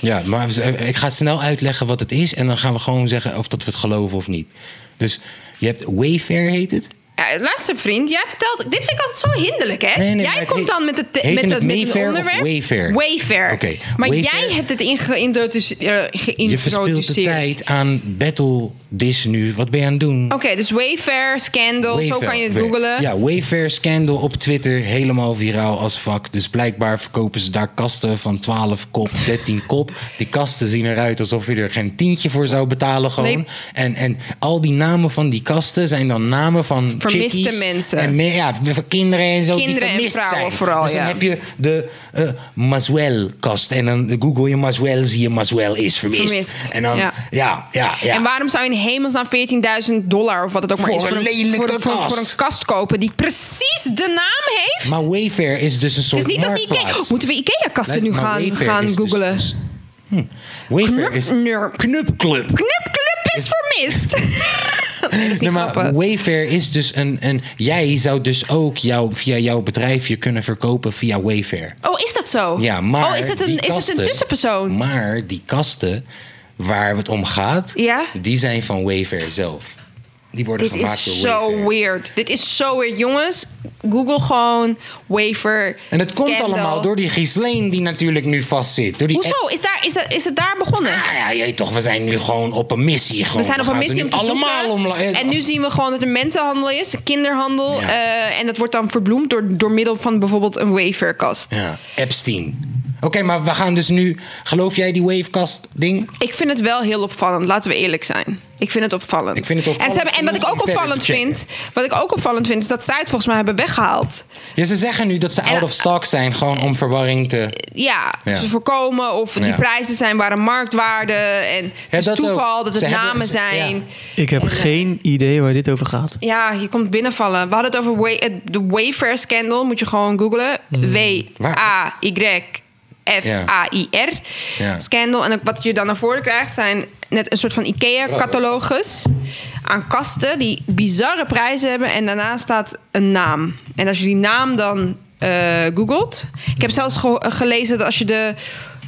Ja, maar even- ik ga snel uitleggen wat het is. En dan gaan we gewoon zeggen of dat we het geloven of niet. Dus je hebt Wayfair, heet het? Ja, luister vriend, jij vertelt... Dit vind ik altijd zo hinderlijk, hè? Nee, nee, maar jij het komt heet- dan met het, heet met het het, met een Mayfair of onderwerp. Wayfair? Wayfair. Oké, Maar Wayfair- jij hebt het in geïntroduce- eh, Je geïntroduceerd. verspilt de tijd aan Battle Dis nu. Wat ben je aan het doen? Oké, dus Wayfair, Scandal, zo Wayfair. kan je het googlen. Ja, Wayfair scandal op Twitter. Helemaal viraal als vak. Dus blijkbaar verkopen ze daar kasten van 12 kop, 13 kop. Die kasten zien eruit alsof je er geen tientje voor zou betalen gewoon. Nee. En, en al die namen van die kasten zijn dan namen van Vermiste chickies mensen. En me- ja, van kinderen en zo die Kinderen en vermist vrouwen zijn. vooral, dus dan ja. heb je de eh Maswell-kast. En dan google je Maswell, zie je Maswell is vermist. Vermist, En dan, ja. ja, ja, ja. En waarom zou je in hemelsnaam 14.000 dollar of wat het ook maar Voor is... een lelijke voor, voor, voor kast. een kast kopen die precies de naam heeft? maar Wayfair is dus een het soort is niet als marktplaats. Ikea... Moeten we Ikea-kasten Nee, nu maar gaan, Wayfair gaan is dus- googlen? is- hm. Wayfair is Knurp. knupclub. Knipclub is vermist. nee, dat is niet Nee, maar grappig. Wayfair is dus een, een... Jij zou dus ook jou, via jouw bedrijf je kunnen verkopen via Wayfair. Oh, is dat zo? Ja, maar Oh, is het die een, is het kasten- een tussenpersoon? Maar die kasten waar het om gaat, Ja? die zijn van Wayfair zelf. Die worden Dit gemaakt is door zo Wayfair. weird. Dit is zo weird. Jongens, google gewoon wafer. En het komt scandal. allemaal door die Gisleen die natuurlijk nu vastzit. Door die Hoezo? Is, daar, is, dat, is het daar begonnen? Nou ja, je weet toch, we zijn nu gewoon op een missie. Gewoon. We zijn op een Oh, gaan ze missie nu om te allemaal zoeken. omla- eh, En nu zien we gewoon dat er mensenhandel is, kinderhandel. Ja. eh, en dat wordt dan verbloemd door, door middel van bijvoorbeeld een waferkast. Ja, Epstein. Oké, maar we gaan dus nu. Geloof jij die wavecast-ding? Ik vind het wel heel opvallend, laten we eerlijk zijn. Ik vind het opvallend. Ik vind het opvallend. En, ze hebben, en wat ik Om ook verder te opvallend checken. vind, wat ik ook opvallend vind, is dat zij het volgens mij hebben weggehaald. Ja, ze zeggen nu dat ze out of stock zijn, gewoon om verwarring te. Ja, Ja. ze voorkomen of die Ja. prijzen zijn waar de marktwaarde en het Ja, is dat ook. toeval dat het Ze hebben- namen ze- zijn. ja. Ik heb geen idee waar dit over gaat. Ja, je komt binnenvallen. We hadden het over wa- het- de Wayfair scandal. Moet je gewoon googlen. Hmm. W-A-Y-F-A-I-R Ja. scandal. En ook wat je dan naar voren krijgt zijn net een soort van IKEA-catalogus aan kasten die bizarre prijzen hebben. En daarna staat een naam. En als je die naam dan eh, googelt. Ik heb zelfs ge- gelezen dat als je de.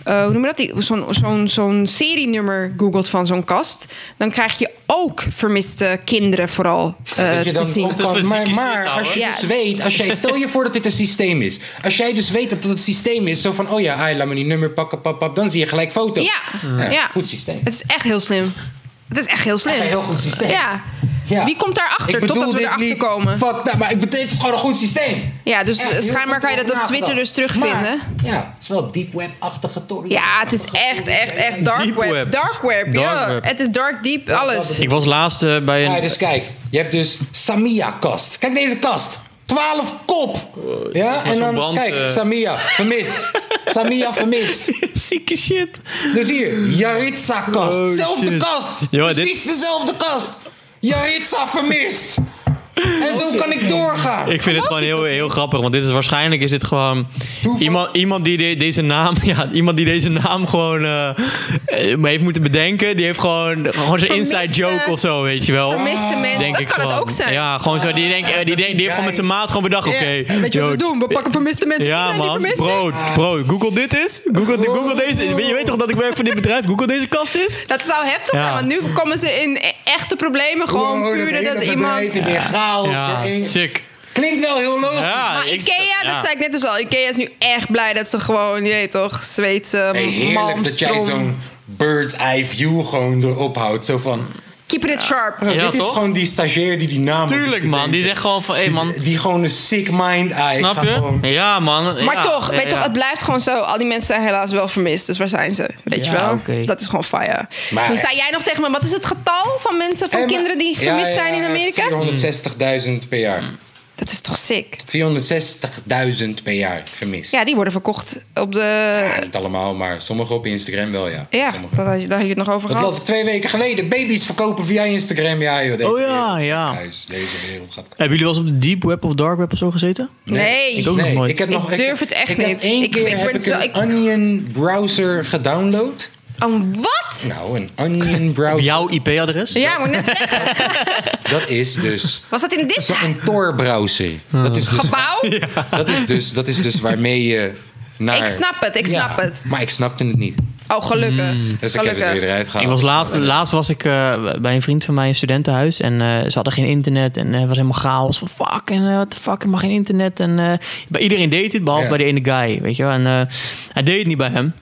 eh, hoe noem je dat? Die- Zo'n zo'n zo'n serienummer googelt van zo'n kast. Dan krijg je ook vermiste kinderen vooral eh, dat je te dan zien. ook kan- Dat is maar, ziek, maar is dit nou, als je hoor. dus Ja. weet, als jij, stel je voor dat dit een systeem is. Als jij dus weet dat het een systeem is, zo van, oh ja, ai, laat me die nummer pakken, pap, pap, dan zie je gelijk foto. Ja, ja. Goed systeem. Het is echt heel slim. Het is echt heel slim. Echt een heel goed systeem. Ja. Ja. Wie komt Ik daarachter bedoel totdat we dit erachter niet- komen? Fuck that, maar ik bedoel, het is gewoon een goed systeem. Ja, dus Echt, heel schijnbaar goed kan je dat op nagedacht. Twitter dus terugvinden. Maar, ja, het is wel deep web-achtige tory. Ja, het is echt, echt, echt dark Deep web. web. Dark web, ja. Dark web. Het is dark, deep, alles. Ik was laatst eh, bij Ja, een... dus kijk, je hebt dus Samia-kast. Kijk deze kast. 12 kop. ja, Oh, maar en zo'n dan, brand, kijk, eh. Samia, vermist. Samia vermist. Zieke shit. Dus hier, Yaritza-kast. Oh, Zelfde shit. kast. Ja, dit- Precies dezelfde kast. Yaritza vermist. En zo kan ik doorgaan. Oh, Ik vind het gewoon heel, heel grappig, want dit is waarschijnlijk is dit gewoon iemand, iemand die de- deze naam, ja, iemand die deze naam gewoon eh, eh, heeft moeten bedenken, die heeft gewoon gewoon zo'n inside Vermiste- joke of zo, weet je wel. vermiste mensen, dat kan het gewoon. ook zijn. Ja, gewoon zo. Die denkt, eh, die, denkt, die heeft gewoon met zijn maat gewoon bedacht, oké. Weet je wat we yo, doen? We pakken vermiste mensen. Ja die man, vermist Oh. bro, is. bro, Google dit is. Google, Google deze. Je weet toch dat ik werk voor dit bedrijf? Google deze kast is. Dat zou heftig zijn, Ja. want nu komen ze in e- echte problemen. Gewoon Oh, Wow, puur hele dat, bedrijf iemand... is in chaos. Ja, door één- sick. Klinkt wel heel logisch. Ja, Maar Ah, ik- Ikea, ja. dat zei ik net dus al. Ikea is nu echt blij dat ze gewoon, je weet toch, Zweedse mm, Hey, heerlijk dat jij malmstroom- zo'n bird's eye view gewoon erop houdt. Zo van, Keeping it sharp. oh, Ja, dit is toch? gewoon die stagiair die die naam... Tuurlijk man, die zegt gewoon van, hé Die, man, die, gewoon een sick mind ah, eye. snap je? Ja man. Maar ja, toch, ja, weet je toch, ja. het blijft gewoon zo. Al die mensen zijn helaas wel vermist. Dus waar zijn ze? Weet Ja, je wel? oké. Dat is gewoon fire. Maar- Eh, Toen zei jij nog tegen me, wat is het getal van mensen, van kinderen die vermist zijn in Amerika? 460.000 per jaar. Hmm. Dat is toch sick? 460.000 per jaar vermist. Ja, die worden verkocht op de... Ja, niet allemaal, maar sommigen op Instagram wel, ja. Ja, Sommigen. dat had je, daar heb je het nog over Dat gehad. las ik twee weken geleden. Baby's verkopen via Instagram. Ja, joh. Deze Oh ja, wereld gaat ja. Huis. Deze wereld gaat Hebben jullie wel eens op de deep web of dark web of zo gezeten? Nee. Ik ook nog nooit. Ik, heb Ik nog, durf het echt ik heb niet. één Ik- keer ik heb ben ik zo- een ik- Onion browser gedownload. Oh, wat? Nou, een Onion Op browser. jouw IP-adres? Ja, moet ik net zeggen. Dat is dus Was dat in dit zo'n Tor browser. Dat is dus, gebouw? dat is dus, dat is dus waarmee je naar... Ik snap het, ik Ja, snap het. Maar ik snapte het niet. Oh, gelukkig. Mm. Dus ik heb het gelukkig. weer eruit gehaald. Ik was laatst, laatst was ik eh, bij een vriend van mij in een studentenhuis en eh, ze hadden geen internet en eh, het was helemaal chaos van fuck en wat de fuck, ik mag geen internet en eh, bij iedereen deed dit behalve Ja. bij de ene guy, weet je wel. En eh, hij deed het niet bij hem.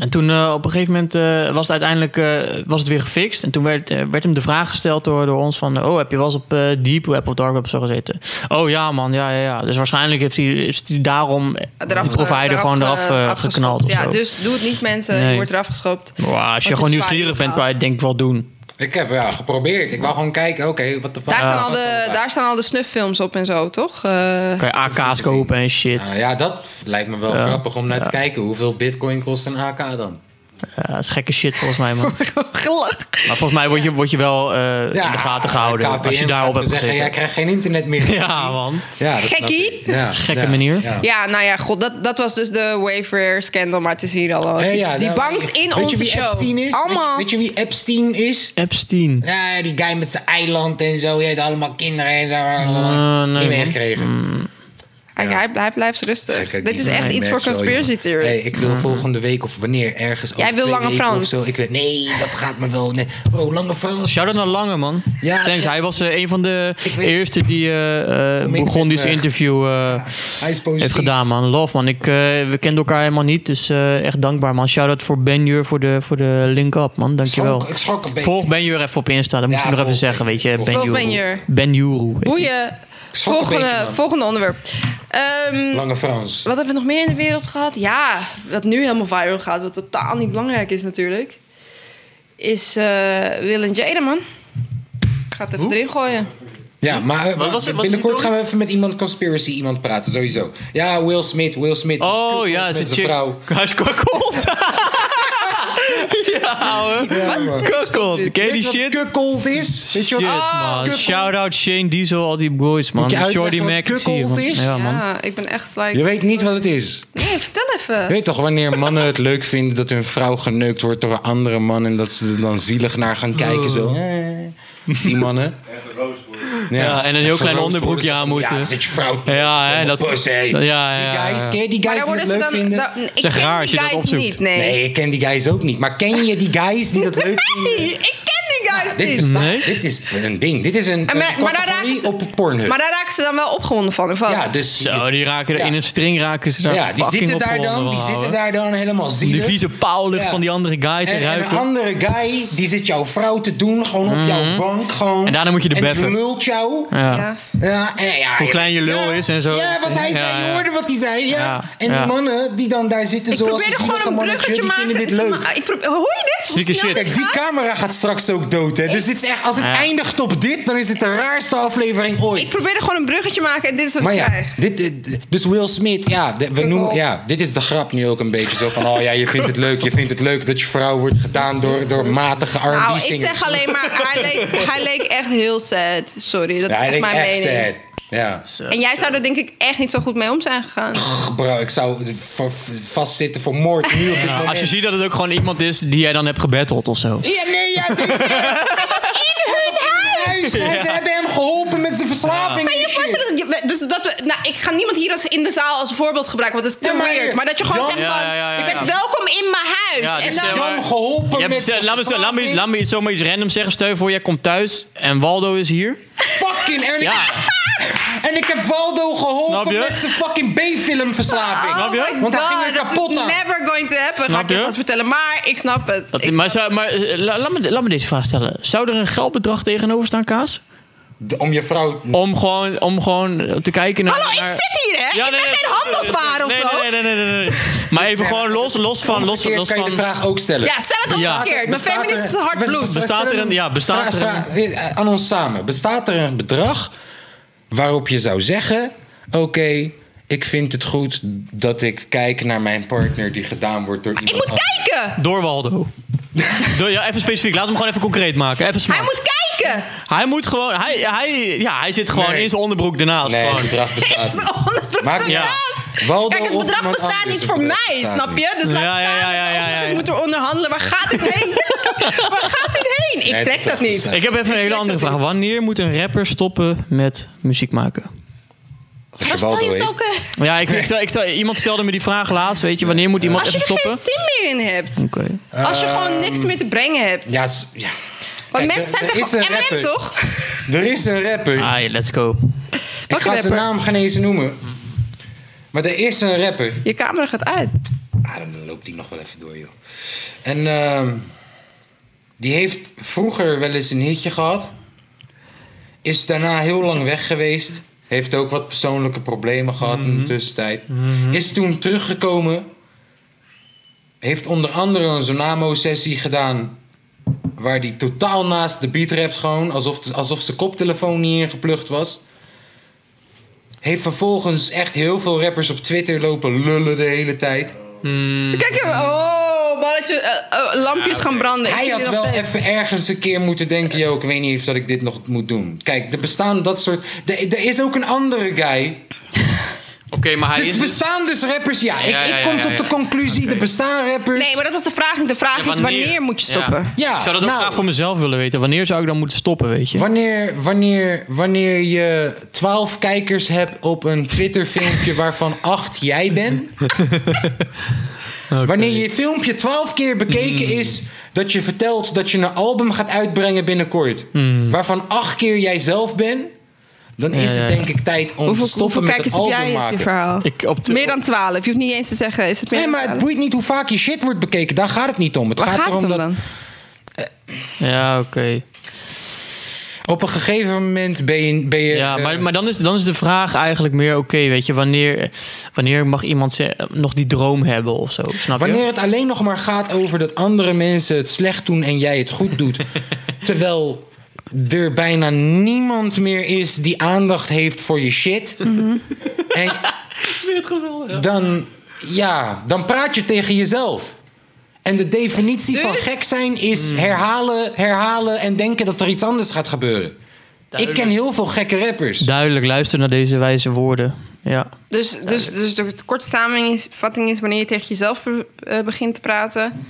En toen eh, op een gegeven moment eh, was het uiteindelijk eh, was het weer gefixt. En toen werd, eh, werd hem de vraag gesteld door, door ons van... oh, heb je wel eens op eh, deep web of dark web zo gezeten? Oh ja man, ja, ja, ja. Dus waarschijnlijk heeft hij, heeft hij daarom Eraf, de provider eraf, gewoon eraf eh, afgeschopt. geknald. of Ja, zo. dus doe het niet mensen, je Nee. wordt eraf geschopt. Wow, als je is gewoon zwaar nieuwsgierig bent, illegaal. kan je het denk ik wel doen. Ik heb ja, geprobeerd. Ik wou gewoon kijken, oké, wat de fuck. Daar, staan Ja. al de, daar staan al de snufffilms op en zo, toch? Eh, Kan je AK's kopen en shit. Nou ja, dat lijkt me wel Ja. grappig om naar te Ja. kijken. Hoeveel bitcoin kost een AK dan? Ja, dat is gekke shit volgens mij, man. Maar volgens mij word je, word je wel eh, in de gaten gehouden KPN als je daarop gaat hebt me zeggen, gezeten. jij krijgt geen internet meer. Ja, man. Ja, dat snap Gekkie. ik. Ja, Gekke ja, manier. Ja. ja, nou ja, god, dat, dat was dus de Wayfair scandal, maar het is hier al. al- Ja, ja, die nou, bankt in weet onze je wie show. Epstein is? Allemaal. Weet, je, weet je wie Epstein is? Epstein. Ja, die guy met zijn eiland en zo. Die heeft allemaal kinderen en zo. Eh, nee, niet man. meegekregen. hij, hij, hij blijft rustig. Gekke Dit is guy. echt Nee, iets voor mensen wel, conspiracy jongen. theories. Hey, ik wil volgende week of wanneer ergens. over Jij wil twee Lange weken Frans. of zo. Ik weet, nee, dat gaat me wel. Nee. Bro, Lange Frans. Shout-out naar Lange, man. Ja, Thanks. ja. Hij was eh, een van de weet- eerste die eh, eh, Om ik begon ben, dit eh, interview eh, Hij is positief. heeft gedaan, man. Love, man. Ik, eh, we kenden elkaar helemaal niet, dus eh, echt dankbaar, man. Shout-out voor Benjur voor de, voor de link-up, man. Dankjewel. Schrok- Ik schrok een beetje. Volg Benjur even op Insta. Dat moest Ja, ik nog even volg zeggen, weet je. Volg Benjuru. Benjur. Benjuru. weet je. Boeien. schrok een Volgende, beetje, man. volgende onderwerp. Ehm, Lange Frans. wat hebben we nog meer in de wereld gehad? Ja, wat nu helemaal viral gaat, wat totaal niet belangrijk is natuurlijk, is eh Will en Jada, man. Ik ga het even erin gooien. Ja, maar eh, Wat was het? Wat binnenkort is het gaan we even met iemand conspiracy iemand praten, sowieso. Ja, Will Smith, Will Smith. Oh Met ja, is zijn het chick. vrouw. Hij is kokold. ja, hoor. Ja, man. Kokold. Ken je die Weet je wat shit? Cuckold is? Weet je Shit, wat? man. kukkel. Shout-out Shane Diesel, al die boys, man. Moet je uitleggen Shorty wat Mac. ik zie je, kuckold man. is? Ja, man. Ja, ik ben echt like... Je weet niet wat het is. Nee, vertel Je even. weet toch wanneer mannen het leuk vinden dat hun vrouw geneukt wordt door een andere man en dat ze er dan zielig naar gaan kijken zo. Eh, Die mannen. En geroost worden. Ja, en een heel klein geroost onderbroekje worden. aan moeten. Ja, zit je vrouw. Ja, hè, dat Pussy. Ja, ja, Die ja. guys, ken je die Maar guys daar die worden het ze leuk dan... vinden? daar- ik Zeg ken raar die als je dat guys opzoekt. Niet, nee. Nee, ik ken die guys ook niet. Maar ken je die guys die dat leuk vinden? Nee, ik ken die guys Dit niet. bestaat. Nee. Dit is een ding. Dit is een, En maar- een maar daar categorie raken ze- op Pornhub. Maar daar raken ze dan wel opgewonden van, of wat? ja, dus Zo, die raken er Ja. in een string raken ze daar ja, die fucking zitten op daar dan, gewoon, die ouwe. zitten daar dan helemaal zielig. Die vieze pauw ligt Ja. van die andere guys te En, en een ruiken. andere guy, die zit jouw vrouw te doen, gewoon op jouw bank. Gewoon. Mhm. En daarna moet je de En die beffen. lult jou. Ja. Ja. Ja, en, ja, Hoe ja. klein je lul Ja, is en zo. Ja, wat hij zei, Ja, je ja. hoorde wat hij zei. Ja. Ja, En ja. die mannen die dan daar zitten, Ik zoals probeer die er gewoon zielige een mannetje, bruggetje die maken. vinden dit te leuk. ma- Ik probeer, hoor je dit? Hoe Zieke snel shit. dit Kijk, die gaat? camera gaat straks ook dood, hè. Dus dit is echt, als het Ja. eindigt op dit, dan is dit de raarste aflevering ooit. Ik probeer er gewoon een bruggetje maken en dit is wat Maar ik ja, krijg. dit, dit- dus Will Smith, ja, dit- we Ik noemen, ook. ja, dit is de grap nu ook een beetje zo van, oh ja, je vindt het leuk, je vindt het leuk dat je vrouw wordt gedaan door, door matige Nou, R&B ik zingers. zeg alleen maar, hij leek, hij leek echt heel sad. Sorry, dat Ja, is echt ik mijn echt mening. sad. Ja, En jij zou er denk ik echt niet zo goed mee om zijn gegaan. Ach, bro, ik zou voor- vastzitten voor moord nu op dit moment. Als je ziet dat het ook gewoon iemand is die jij dan hebt gebatteld of zo. Ja, nee, ja, dit is... Hij was in hun huis! Ze hebben hem geholpen met zijn verslaving Kan je en je shit. voorstellen dat, je, dus dat we, nou, ik ga niemand hier als in de zaal als voorbeeld gebruiken, want dat is te Ja, maar- weird. Maar dat je gewoon Jan- zegt Ja, van, ja, ja, ja, je ja. bent welkom in mijn huis. Ja, en dus, dan, eh, maar- Jan geholpen Jij met hebt- zijn laat, me, laat, me, verslaving. laat me iets zomaar iets random zeggen. Stel je voor, jij komt thuis en Waldo is hier. Fucking, en ik, Ja, en ik heb Waldo Snap geholpen je? met zijn fucking B-film verslaving. Snap je? Want hij ging er Oh God, dat kapot is aan. never going to happen, ga Snap ik je je? vast vertellen. Maar ik snap het. dat, Ik maar, zou, maar eh, la- laat, me, laat me deze vraag stellen. Zou er een geldbedrag tegenover staan, Kaas? D- Om je vrouw... Om gewoon, om gewoon te kijken naar... Hallo, ik naar- zit hier, hè? ik ben geen handelswaar of nee, zo. Nee, nee, nee, nee, nee. Maar even gewoon los, los van... Los, Verkeerd los kan je de van vraag ook stellen. Ja, stel het als Ja. verkeerd. Mijn Bestaat feminist er- is hard we- bloed. we- Bestaat er een- ja, bestaat vraag- er een- vraag- eh, Aan ons samen. Bestaat er een bedrag waarop je zou zeggen... Oké, ik vind het goed dat ik kijk naar mijn partner die gedaan wordt door Ik iemand moet anders. kijken! door Waldo. Door, ja, even specifiek. Laat hem gewoon even concreet maken. Even smart. Hij moet kijken! Hij moet gewoon... Hij, hij, ja, hij zit gewoon Nee. in zijn onderbroek daarnaast. Nee, gewoon. het bedrag bestaat niet. Maakt Onderbroek niet Ja. ernaast. Waldo Kijk, het of bedrag iemand bestaat anders, niet voor het bedrag mij, bestaat snap niet. je? Dus laat Ja, ja, staan ja, dat we ja, ook ja, nog eens ja. moeten onderhandelen. Waar gaat dit heen? Waar gaat dit heen? Ik Nee, trek dat eh, dat niet. bestaat. Ik heb even een hele andere vraag. Wanneer moet een rapper stoppen met muziek maken? Als je Maar stel Waldo je heet. zulke... Ja, ik, ik, stel- ik, stel- iemand stelde me die vraag laatst, weet je. Wanneer moet iemand Als je even er stoppen? geen zin meer in hebt. Oké. Als je gewoon niks meer te brengen hebt. Ja, s- ja. Want Ehm, Kijk, mensen er- zijn er toch is een gewoon Eminem, rapper. toch? Er is een rapper. Ah, let's go. ik Welke ga zijn rapper? Mm. naam geen eens noemen. Maar er is een rapper. Je camera gaat uit. Ah, dan loopt die nog wel even door, joh. En ehm, die heeft vroeger wel eens een hitje gehad. Is daarna heel lang weg geweest. Heeft ook wat persoonlijke problemen gehad in de tussentijd. Is toen teruggekomen. Heeft onder andere een Zonamo-sessie gedaan. Waar die totaal naast de beat rapt gewoon. Alsof, alsof zijn koptelefoon niet ingeplucht was. Heeft vervolgens echt heel veel rappers op Twitter lopen lullen de hele tijd. Hmm. Kijk hem. Oh, balletje. eh, eh, lampjes gaan branden. Ik Hij zie had die nog wel steeds. even ergens een keer moeten denken... yo, ik weet niet of dat ik dit nog moet doen. Kijk, er bestaan dat soort... Er, er is ook een andere guy. Oké, maar hij Er is... bestaan dus rappers, ja. Ik, Ja, ja, ik ja, kom ja, tot ja. de conclusie, er bestaan rappers... Nee, maar dat was de vraag niet. De vraag is wanneer moet je stoppen? Ja, ik zou dat ook nou. graag voor mezelf willen weten. Wanneer zou ik dan moeten stoppen, weet je? Wanneer, wanneer, wanneer je twaalf kijkers hebt op een Twitter-filmpje waarvan acht jij bent... Oké. Mm. Wanneer je filmpje twaalf keer bekeken is... dat je vertelt dat je een album gaat uitbrengen binnenkort... waarvan acht keer jij zelf bent... dan is Mm. Ja, het ja. denk ik tijd om Hoeveel, te stoppen hoeveel met het kijkers heb album jij op je maken. verhaal? Ik op de- Meer dan 12. Je hoeft niet eens te zeggen, is het meer Nee, dan maar het 12? boeit niet hoe vaak je shit wordt bekeken. Daar gaat het niet om. Het Waar gaat gaat het erom om dat... dan? Ja, oké. op een gegeven moment ben je... Ben je Ja, eh, maar, maar dan, is, dan is de vraag eigenlijk meer: oké, weet je, wanneer, wanneer mag iemand ze- eh, nog die droom hebben of zo? Snap je? Wanneer het alleen nog maar gaat over dat andere mensen het slecht doen en jij het goed doet. terwijl er bijna niemand meer is die aandacht heeft voor je shit. En dan, ja, dan praat je tegen jezelf. En de definitie van Dus? gek zijn is herhalen, herhalen en denken dat er iets anders gaat gebeuren. Ik ken heel veel gekke rappers. Duidelijk, luister naar deze wijze woorden. Ja. Dus, dus, dus de korte samenvatting is wanneer je tegen jezelf be- eh, begint te praten.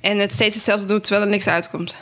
En het steeds hetzelfde doet terwijl er niks uitkomt.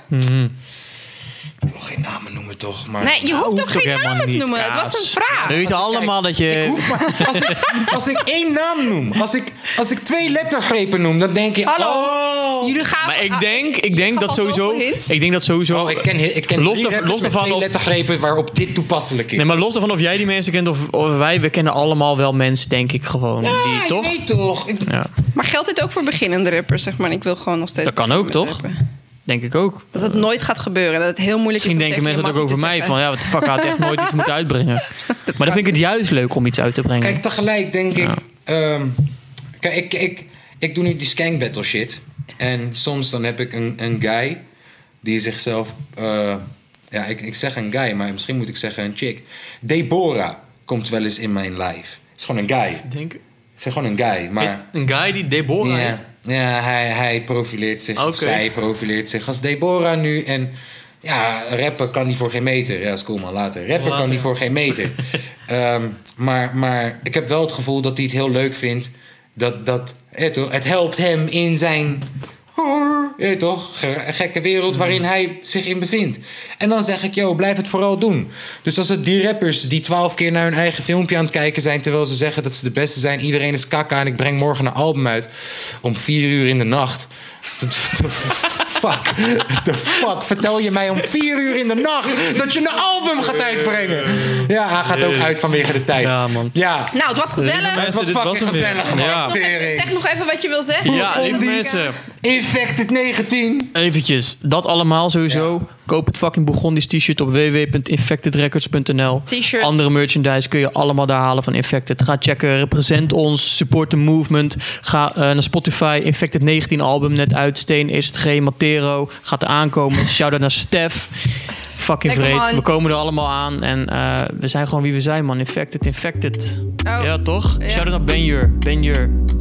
Ik wil geen namen noemen toch, maar... Nee, je hoeft Nou, Hoeft toch geen helemaal namen te niet, noemen? Het Kaas. was een vraag. We weten allemaal dat je. Ik hoef maar, als, ik, als ik één naam noem, als ik, als ik twee lettergrepen noem, dan denk je... Hallo. Oh, Jullie gaan. Maar ik denk, ik Jullie denk gaan dat van sowieso. zoveel hints. Ik denk dat sowieso. oh, ik ken, ik ken Los drie daar- rappers los met daarvan twee of- lettergrepen waarop dit toepasselijk is. Nee, maar los daarvan of jij die mensen kent of, of wij, we kennen allemaal wel mensen, denk ik gewoon. ja, die, toch? je weet toch. Ik- Ja, Maar geldt dit ook voor beginnende rappers? Zeg maar, ik wil gewoon nog steeds. Dat kan ook, beginnen met toch? rappen. denk ik ook. Dat het nooit gaat gebeuren. Dat het heel moeilijk Misschien is. om denken tegen mensen dat ook je over mij mattie van, ja, wat de fuck, hij had echt nooit iets moeten uitbrengen. Maar dan vind ik het juist leuk om iets uit te brengen. Kijk, tegelijk denk ik... ehm, kijk, ik, ik, ik doe nu die skank battle shit. En soms dan heb ik een, een guy die zichzelf... eh, ja, ik, ik zeg een guy, maar misschien moet ik zeggen een chick. Deborah komt wel eens in mijn live. is gewoon een guy. Denk, is gewoon een guy, maar... Een guy die Deborah Ja, ja hij, hij profileert zich. of Ah, Oké. Zij profileert zich als Deborah nu. En ja, rappen kan die voor geen meter. Ja, is cool man, later. Rappen Later. kan die voor geen meter. Ehm, maar, maar ik heb wel het gevoel dat hij het heel leuk vindt. Dat, dat hè, toch, het helpt hem in zijn... hè, toch? ge- Gekke wereld Mm. waarin hij zich in bevindt. En dan zeg ik, yo, blijf het vooral doen. Dus als het die rappers die twaalf keer naar hun eigen filmpje aan het kijken zijn... terwijl ze zeggen dat ze de beste zijn, iedereen is kakka... en ik breng morgen een album uit om vier uur in de nacht. The fuck? The fuck? Vertel je mij om vier uur in de nacht dat je een album gaat uitbrengen? Ja, hij gaat ook uit vanwege de tijd. Ja, eh, man. Ja, zeggen. Nou, het was gezellig. het was dit was fucking hem weer. gezellig. Ja. man. Tering. Zeg nog even wat je wil zeggen. Ja, Hoe lieve vond die- mensen, Infected 19. eventjes, dat allemaal sowieso. Koop het fucking Burgondisch t-shirt op www.infectedrecords.nl. eh, T-shirt. Andere merchandise kun je allemaal daar halen van Infected. Ga checken, represent ons, support the movement. Ga eh, naar Spotify, Infected 19 album net uit. Steen is het G, Matero gaat er aankomen. Shout-out naar Stef. Fucking Lekker vreed. man. We komen er allemaal aan en eh, we zijn gewoon wie we zijn, man. Infected, infected. Oh. Ja, toch? Ja. Shout-out naar Benjur. Benjur.